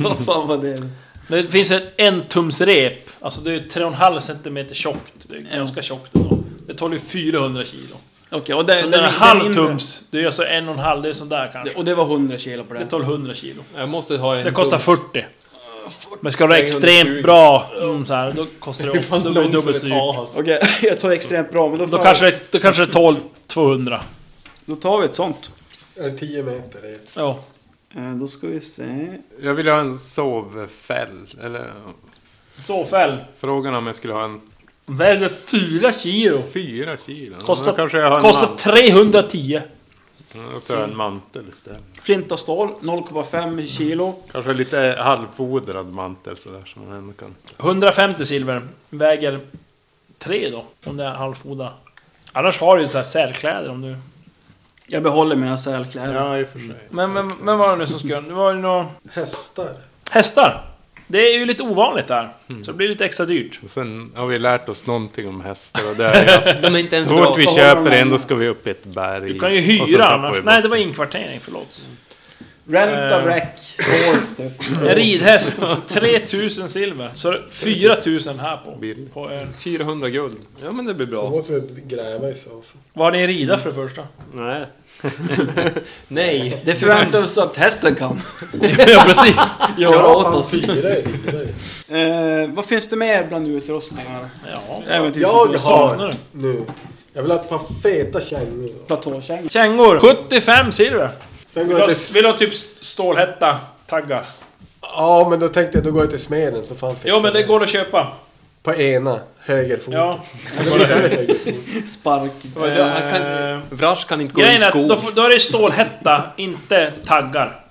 H: Vad fan var det?
B: det finns ett entumsrep. Alltså det är 3,5 cm tjockt. Det är
H: Ja.
B: ganska tjockt ändå. Det tar ju 400 kilo.
H: Okej, och det...
B: Så Eh, den är
H: mindre-
B: halvtums. Det är alltså en och en halv. Det är sådär kanske.
H: Och det var 100 kilo på
B: Det
H: det.
B: tar 100 kilo.
D: Jag måste ha en...
B: Det kostar
D: dunk.
B: 40. Men ska det vara extremt bra, mm, så här, då kostar det, då blir det dubbelt så dyrt.
H: Okej, jag tar extremt bra, men då,
B: Då
H: får-
B: kanske, det- då kanske det tål 200.
H: då tar vi ett sånt.
F: Är det 10 meter? Det är
B: Ja.
H: Eh, Då ska vi se...
G: Jag vill ha en sovfäll. Eller
B: Ståfäll.
G: frågan om jag skulle ha en
B: Väger 4 kilo.
G: fyra kilo.
B: Kostar-
G: Kostar, då kanske jag har en,
B: Kostar
G: man,
B: 310.
G: då tar jag en mantel istället.
H: Flint och stål, 0,5 kilo.
G: Kanske lite halvfodrad mantel sådär som man ändå kan.
B: 150 silver. Väger 3 då, om det är halvfoda. Annars har du ju så här sälkläder om du...
H: Jag behåller mina sälkläder.
G: Ja, i och för sig.
B: Men vem, vem var det nu som skulle... Det var ju några...
F: hästar.
B: Hästar! Det är ju lite ovanligt där. Så det blir lite extra dyrt.
G: Och sen har vi lärt oss någonting om hästar och det är ju att
D: De är inte ens
G: så fort vi
D: bra.
G: köper en då ska vi upp i ett berg.
B: Du kan ju
G: och så
B: hyra
G: tappar vi
B: annars.
G: bort
B: Nej, det var inkvartering, förlåt.
H: Rent a
B: Eh.
H: wreck. Horse, typ.
B: En ridhäst, 3000 silver. Så 4000 här på.
G: Billigt.
B: på ön.
D: 400 guld. Ja men det blir
F: Då
D: bra.
F: måste vi gräva i så fall.
B: Vad har ni i rida för det första?
D: Nej. Nej.
H: Det förväntar vi oss att hästen kan.
D: ja precis.
H: Göra åt oss.
F: Fyra i fyra.
H: Eh, vad finns det mer bland utrustningar?
B: Ja,
F: Jag
B: saknar
F: har
B: du?
F: nu. Jag vill ha ett par feta kängor.
H: Platåkängor.
B: Kängor, 75 silver.
F: Sen går
B: Vill
F: jag
B: ha,
F: till...
B: vill ha typ stålhätta, taggar.
F: Ja, men då tänkte jag då går jag till smeden så får han fixa
B: Jo men det går att köpa.
F: På ena högerfoten.
B: Ja.
F: Eller visst är det högerfoten?
H: Spark.
D: Han kan, Vrash kan inte gå i
B: Eh, Grejen är att
D: skog.
B: då, får- då är det stålhätta, inte taggar.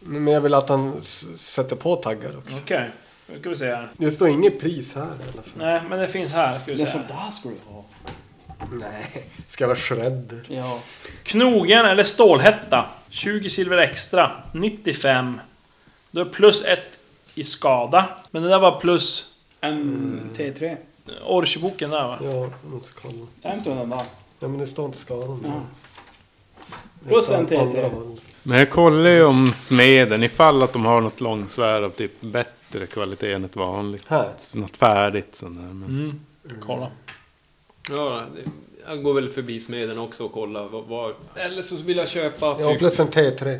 F: Men jag vill att han s- sätter på taggar också.
B: Okej, nu ska vi se här.
F: Det står inget pris här i alla fall.
B: Nej men det finns här. Ska vi
H: Det är
B: se.
H: sånt där ska du ha.
F: Nej, ska jag vara shredder?
H: Ja.
B: Knogen eller stålhätta, 20 silver extra, 95. Då är plus ett i skada. Men det där var plus
H: En T3.
B: orchboken där va?
F: Ja, jag måste kolla.
H: Jag inte den där.
F: Ja, men det står inte skadan.
B: Mm.
H: Ja.
F: Det
H: Plus
F: står
H: en
F: åt andra
H: T3.
F: hållet.
G: Men jag kollar ju om smeden ifall att de har något långsvärd av typ bättre kvalitet än ett vanligt.
F: Här.
G: Något färdigt sånt där. Men...
B: Mm. Kolla.
D: Ja, det- jag går väl förbi smeden också och kollar vad, vad... Eller så vill jag köpa
F: Ja,
D: typ...
F: plus en T3.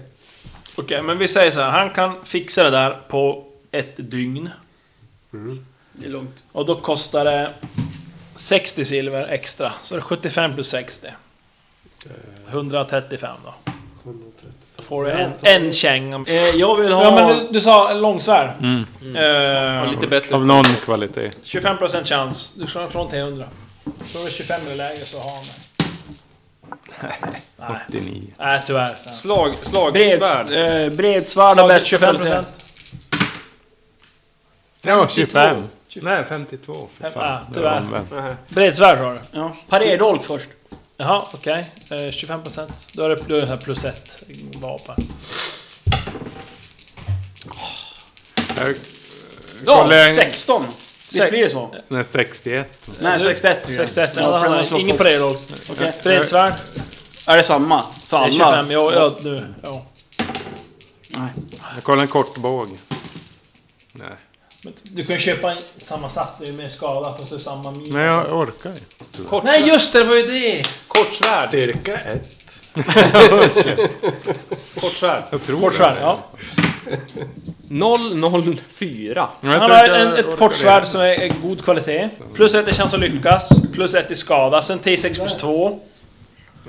B: Okej, men vi säger så här. Han kan fixa det där på ett dygn.
H: Det är lugnt.
B: Och då kostar det 60 silver extra. Så det är 75 plus 60. 135 då. Då får du en, en känga.
H: Eh, jag vill ha...
B: Ja men du, du sa en långsvärd.
G: Mm.
B: Eh,
D: Lite bättre.
G: Av någon kvalitet.
B: 25% chans. Du slår från till 100. Så är det 25 eller lägre så har han det.
G: 89.
B: Nej tyvärr. Så.
J: Slag,
H: Breds,
J: slagsvärd.
H: eh, bredsvärd av bästa
B: 25%.
H: kvalitet.
G: Ja, 25. Nej, 52. För
B: Fem-
G: fan.
B: ah,
G: Det
B: tyvärr.
G: var omvänt.
B: Bredsvärd har du.
H: Ja. Parerdolk först.
B: Jaha, okej. Eh, 25%. Då är det, då är det så här plus ett vapen.
G: Jag,
H: Ja,
G: Kolla en-
H: 16! Visst
B: Sex-
H: blir det så?
G: nej, 61.
H: Nej, 61 blir det.
B: 61.
H: Ja,
B: Ja,
H: för
B: han
H: den slår
B: har ingen
H: på.
B: på det roll.
H: Okej.
B: Bredsvärd.
H: Är det samma? För
B: Det är
H: alla?
B: 25. Ja, ja, nu. Ja.
G: Jag kollar en kortbåg. Nej.
B: Men Du kan ju köpa en sammansatt, det är ju mer skada fast det är samma min.
G: Nej, jag orkar ju.
B: Nej just det, det var ju det!
F: Styrka 1.
G: Jag tror
B: Portsvärd,
G: det.
B: ja.
D: 004.
G: Men jag
B: Han
G: tror
B: har
G: inte jag
B: en, ett
G: orkar
B: portsvärd
G: det.
B: som är, är god kvalitet. Plus ett i chans att lyckas, plus ett i skada, sen T6 plus 2.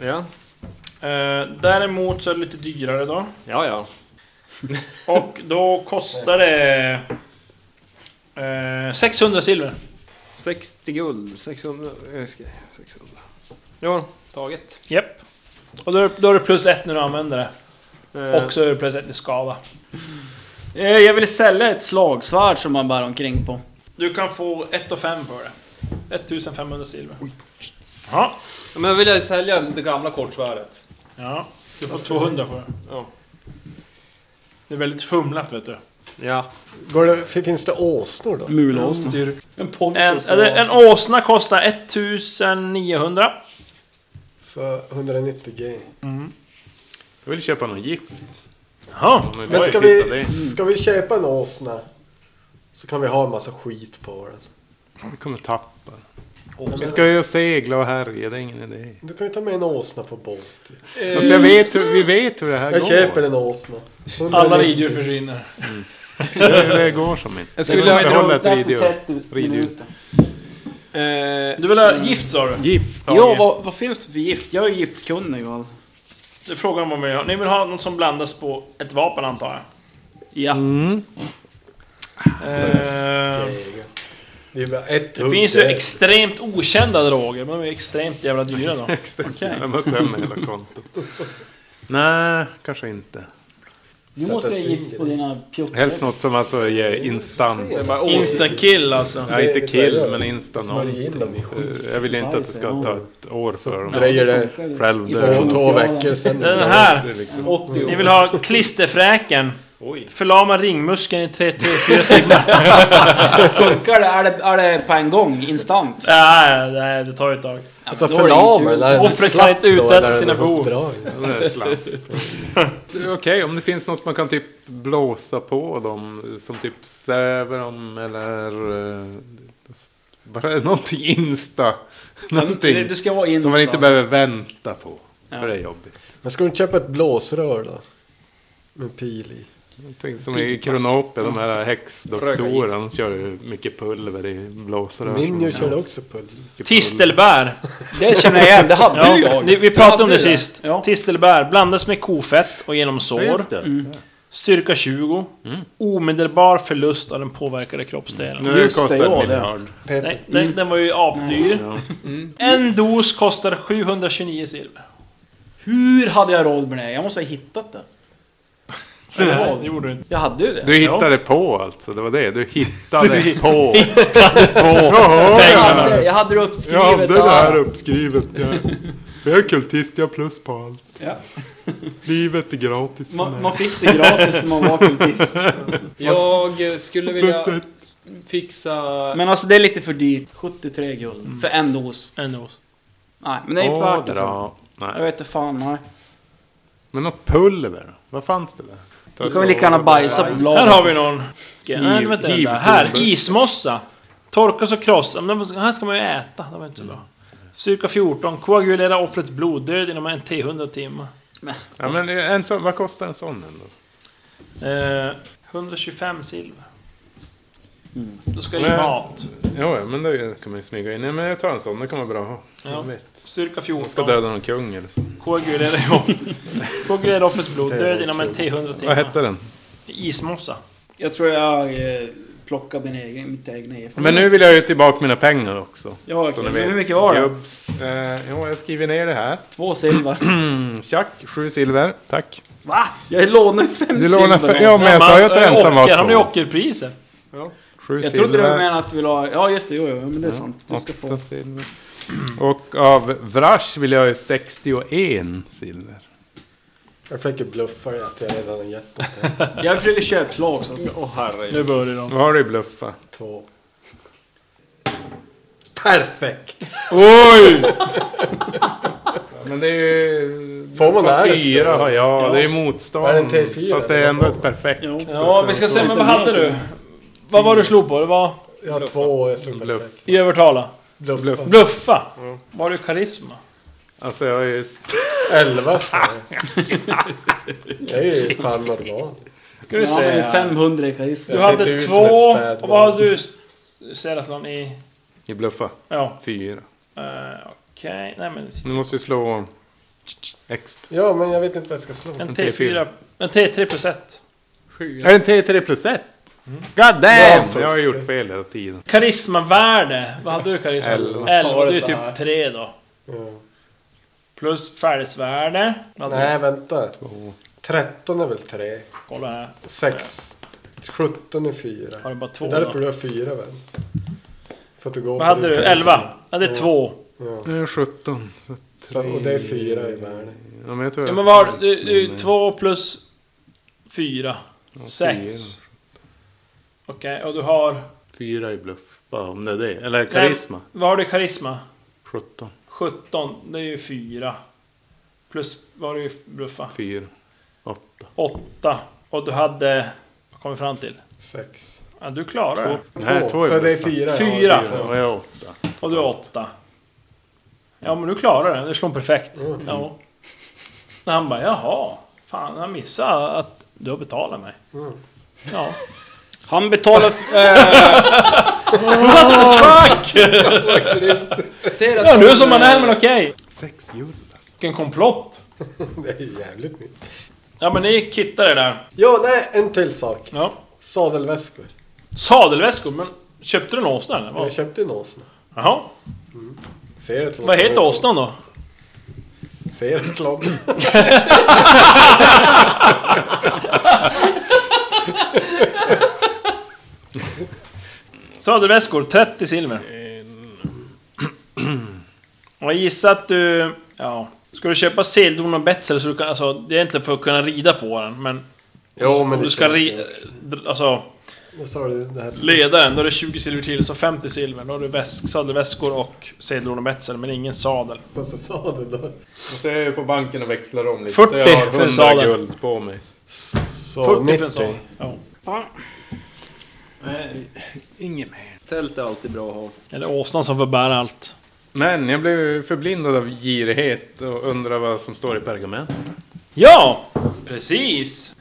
D: Ja,
B: Eh, däremot så är det lite dyrare då.
D: ja. ja.
B: Och då kostar det... Eh, 600 silver.
D: 60 guld. 600...
B: eh,
D: jag ska- 600. Ja, taget.
B: Japp. Och då är, då är det plus ett när du använder det.
D: Eh,
B: Och så är det plus ett i skada.
H: Eh, Jag vill sälja ett slagsvärd som man bär omkring på.
B: Du kan få 1 och 5 för det. 1500 silver. Ja.
D: men jag vill ju sälja det gamla kortsvärdet.
B: ja. Du får 200 för det.
D: Ja.
B: Det är väldigt fumlat vet du.
D: Ja.
F: Går det, finns det åsnor då?
H: Mulåsna. En
B: En,
H: poncho ska
B: eller
H: det vara.
B: en åsna kostar 1900.
F: Så 190 G.
G: Jag vill köpa något gift.
B: Jaha.
G: Om det går
F: Men
G: att
F: ska
G: hitta
F: vi,
G: det. Mm.
F: ska vi köpa en åsna så kan vi ha en massa skit på den.
G: Vi kommer tappa. Vi ska ju segla och härja, det är ingen idé.
F: Du kan ju ta med en åsna på båt.
G: Alltså jag vet hur, vi vet hur det här
F: Jag
G: går.
F: köper en åsna. Hundra
B: Alla
F: meter.
B: riddjur försvinner.
G: Hur det går som inte.
D: Jag
G: Jag
D: skulle
G: skulle
D: vilja-
G: behålla ett
H: Där
G: riddjur.
H: för 30
G: Riddjur.
H: minuter.
D: Eh,
B: Du vill ha gift sa du?
G: Gift.
H: Ja, vad, vad finns det för gift? Jag är giftkunnig. va?
B: Det är frågan vad ni vill ha. Ni vill ha något som blandas på ett vapen antar jag?
H: Ja.
B: Eh,
F: Det är bara ett
B: det finns ju extremt okända droger, men de är extremt jävla dyra då.
G: Jag bara tömmer hela kontot. Nej, kanske inte.
H: Du måste ha gift på dina pjottar.
G: Helst något som alltså ger instant.
B: Insta-kill alltså.
G: Ja, inte kill, men instant Eh,
F: Smörj in dem i
B: Mm.
F: skit.
G: Jag vill inte att det ska ta ett år för dem.
E: Dröjer det
G: Själv
E: två,
G: dö.
E: två veckor sen.
G: Mm.
B: Den här! Ni vill ha klisterfräken. Förlama ringmuskeln i 3 3 4
H: Funkar det? Är, det? är det på en gång? Instant?
B: Alltså, Nej, nej, det tar ju ett tag.
E: Alltså
H: då är det
E: förlamar
H: inget
E: eller? är den
B: Offret kan
E: slapp
B: inte
E: då, eller
B: utäta
E: är den
B: sina behov.
E: uppdragen?
G: Den är slapp. Det är Okej, om det finns något man kan typ blåsa på dem. Som typ säver dem eller... eh, Bara någonting insta. Någonting.
H: Det, det ska vara instant.
G: Som man inte behöver vänta på. För det är jobbigt.
E: Men ska du inte köpa ett blåsrör då? Med pil i.
G: Tänk som i Kronope, de här häxdoktorerna. De kör ju mycket pulver i blåsrör.
F: Ninjo
G: som-
F: körde också pulver.
G: Mycket pulver.
B: Tistelbär.
H: Det känner jag igen. Det hade
B: Ja,
H: ju jag.
B: ni- vi
H: Jag
B: pratade om
H: hade
B: det sist.
H: Ja.
B: Tistelbär blandas med kofett och genom sår. Styrka 20. Omedelbar förlust av den påverkade kroppsdelen.
G: Nu
H: Just det,
G: kostar
H: ja,
G: det
H: det.
G: en miljard.
B: Nej, den, den var ju apdyr.
G: Mm.
B: Mm. En dos kostar 729 silver.
H: Hur hade jag råd med det? Jag måste ha hittat det.
B: Nej, det gjorde du inte.
H: Jag hade ju det.
G: Du hittade på alltså, det var det. Du hittade på. Jaha,
H: jag, hade, jag hade det uppskrivet.
G: Jag hade det
H: ja.
G: här uppskrivet. Jag, jag är kultist, jag har plus på allt.
H: Ja.
G: Livet är gratis för
H: Man,
G: mig.
H: man fick det gratis när man var kultist.
D: jag eh, skulle vilja
G: plus ett.
D: fixa...
H: Men alltså det är lite för dyrt. 73 guld för en dos.
B: En dos.
H: Nej, men det är inte värt det. tror jag.
G: Ådra.
H: Jag
G: Nej.
H: vet inte fan, nej.
G: Men något pulver? Vad fanns det där?
H: Då kan vi lika gärna bajsa på bladet.
B: Här har vi någon. Ska jag, nej,
G: Hiv-
B: vänta, vänta.
G: hivtuber.
B: Här, ismossa. Torkas och krossa. Men den här ska man ju äta. Det var inte så bra. Styrka 14. Koagulera offrets bloddöd inom en T100 timmar.
G: Ja, men en sån, vad kostar en sån ändå?
B: Eh, 125 silver. Då ska jag ge
G: Nej.
B: mat.
G: Jo, ja, men det kan man ju smyga in. Nej, men jag tar en sån, det kan vara bra att ha.
B: Ja.
G: Jag vet.
B: Styrka
G: Man ska
B: 14.
G: döda någon kung eller så.
B: Koagulera Koagulera offrets bloddöd inom en T100
G: Vad
B: timmar.
G: hette den?
B: Ismossa.
H: Jag tror jag eh, plockar min egen, mitt egna gift.
G: Men nu vill jag ju tillbaka mina pengar också.
H: Ja,
G: Så ni
H: okej. Men
G: vet.
H: hur mycket var det?
G: Gubbs. Eh, jo, jag skriver ner det här.
H: Två silver.
G: Mm, tjack, sju silver. Tack.
H: Va? Jag lånade fem
G: Du lånar
H: silver.
G: fem... Ja, men jag sa ju att räntan
B: Ocker, Han har ju
G: var två.
B: ockerpriser.
G: Sju
H: jag trodde du
G: silver.
H: menade att du ville ha... Ja, just det. Jo, jo, men det är sant. Du ska
G: Åtta
H: få.
G: silver. Och av Vrash vill jag ju 61 silver.
F: Jag försöker bluffa dig att jag redan har gett dig
H: Jag försöker köpslå också.
B: Nu börjar de.
G: Vad har du i bluffa?
F: två. Perfekt!
G: Oj! men det är ju...
F: Får man det här
G: Fyra har jag. Det är
F: Är det
G: motstånd.
F: en T4
G: Fast det är
F: eller
G: ändå
F: vad
G: ett perfekt.
H: Jo.
B: Ja, vi ska se, men vad hade du? Vad var det du slog på? Det var
F: Jag har två och jag slog
G: Bluff.
F: perfekt.
B: i övertala?
F: Bluff. Bluff.
B: Bluffa? Var du karisma?
G: Alltså jag har ju...
F: Elva. Jag är ju fan normal.
B: Ska vi
H: Ja, men
B: se.
H: 500 i
B: Du
H: karisma.
F: Jag ser
B: hade
F: inte ut
B: två,
F: som ett spädbarn.
B: och vad hade du Seraslan i...
G: I bluffa.
B: Ja,
G: Fyra.
B: eh, okej. Nej men...
G: Du måste ju slå... Exp.
F: Ja, men jag vet inte vad jag ska slå.
B: En
G: T4.
B: T4... En T3 plus 1.
G: Är det en T3 plus 1?
F: Mm.
G: God damn! Jag har gjort fel hela tiden.
B: Karismavärde. Vad hade du i karisma?
G: Elva.
B: 11. Det är ju typ 3 då.
F: Ja.
B: Plus färdighetsvärde. Vad hade du?
F: Nej, vänta. 13 är väl tre.
B: Kolla här.
F: Sex. 17 är fyra.
B: Har du bara
F: Det
B: två
F: är
B: då?
F: därför du har fyra vän. För att du
B: Vad
F: går på
B: hade
F: ditt
B: du?
F: karisma.
B: 11? Jag hade 2.
F: Ja.
G: Nu är 17. Så
F: Så, att- och det är fyra i världen.
G: Ja, men jag tror
B: Ja
G: jag...
B: men vad har du- du? 2 plus 4. 6. Okej, och du har...
G: Fyra i bluff. Bara om det är det. Eller
B: karisma. Vad har du i karisma?
G: 17.
B: 17, det är ju 4. Plus, vad har du i bluffa?
G: Fyra. Åtta.
B: Åtta. Och du hade... Vad kom vi fram till?
F: Sex.
B: Ja, du klarar det.
G: Nej, två
F: Så
G: är
F: det är
G: borta.
F: fyra.
B: Fyra.
F: Ja,
G: Och jag är åtta.
B: Och du är åtta. Ja, men du klarar det. Du slår perfekt.
G: Mm.
B: Ja. När han bara, jaha. Fan, han missade att du har betalat mig.
G: Mm.
B: Ja.
J: Han betalar... eh.
H: Jag ser att...
B: ja, nu som man är, men okej.
G: Sex guld alltså.
B: Vilken komplott.
F: det är jävligt mycket.
B: Ja, men ni kittar det där.
F: Ja, nej, en till sak.
B: Ja.
F: Sadelväskor.
B: Sadelväskor, men köpte du en åsna eller?
F: Jag
B: Vad?
F: köpte en åsna.
B: Jaha.
F: Ser ett lopp.
B: Vad heter åsnan då?
F: Ser ett lopp.
B: Sadelväskor, 30 silver. Och jag gissar att du... Ja. Ska du köpa seldon och betsel så du kan... Alltså, det är egentligen för att kunna rida på den, men...
F: Jo, men
B: Om du
F: det
B: ska
F: köpte
B: ri...
F: jag.
B: dr- Alltså,
F: Vad sa du? Det här?
B: ledaren, då är det 20 silver till, så 50 silver. Då har du väsk, sadelväskor och sedelon och betsel, men ingen sadel.
F: Vad sa sadeln då?
G: Och så är jag ju på banken och växlar om lite.
B: 40
G: så jag har
B: för en sadel.
G: 100 guld på mig.
F: Så,
B: 40 för en
F: 90.
B: sadel. Ja.
G: Inget mer.
J: Tält är alltid bra att ha.
B: Eller åsnan som får bära allt.
G: Men jag blev ju förblindad av girighet och undrar vad som står i pergamentet.
B: Ja! Precis!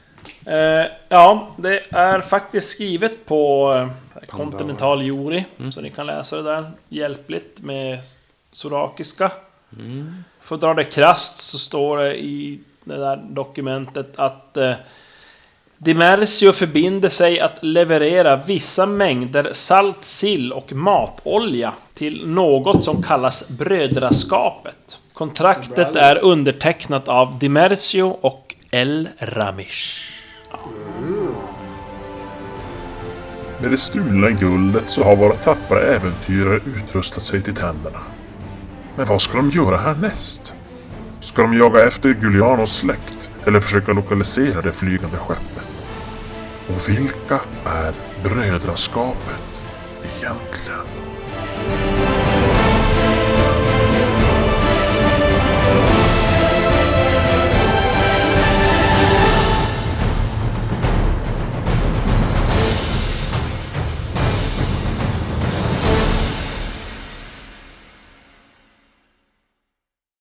B: Eh, ja, det är faktiskt skrivet på eh, Continental Juri, så ni kan läsa det där hjälpligt med sorakiska. För att dra det krasst så står det i det där dokumentet att eh, Dimersio förbinder sig att leverera vissa mängder salt sill och matolja till något som kallas Brödraskapet. Kontraktet är undertecknat av Dimersio och El Ramish.
A: Med det stulna guldet så har våra tappra äventyrare utrustat sig till tänderna. Men vad ska de göra härnäst? Ska de jaga efter Gulianos släkt eller försöka lokalisera det flygande skeppet? Och vilka är brödraskapet egentligen?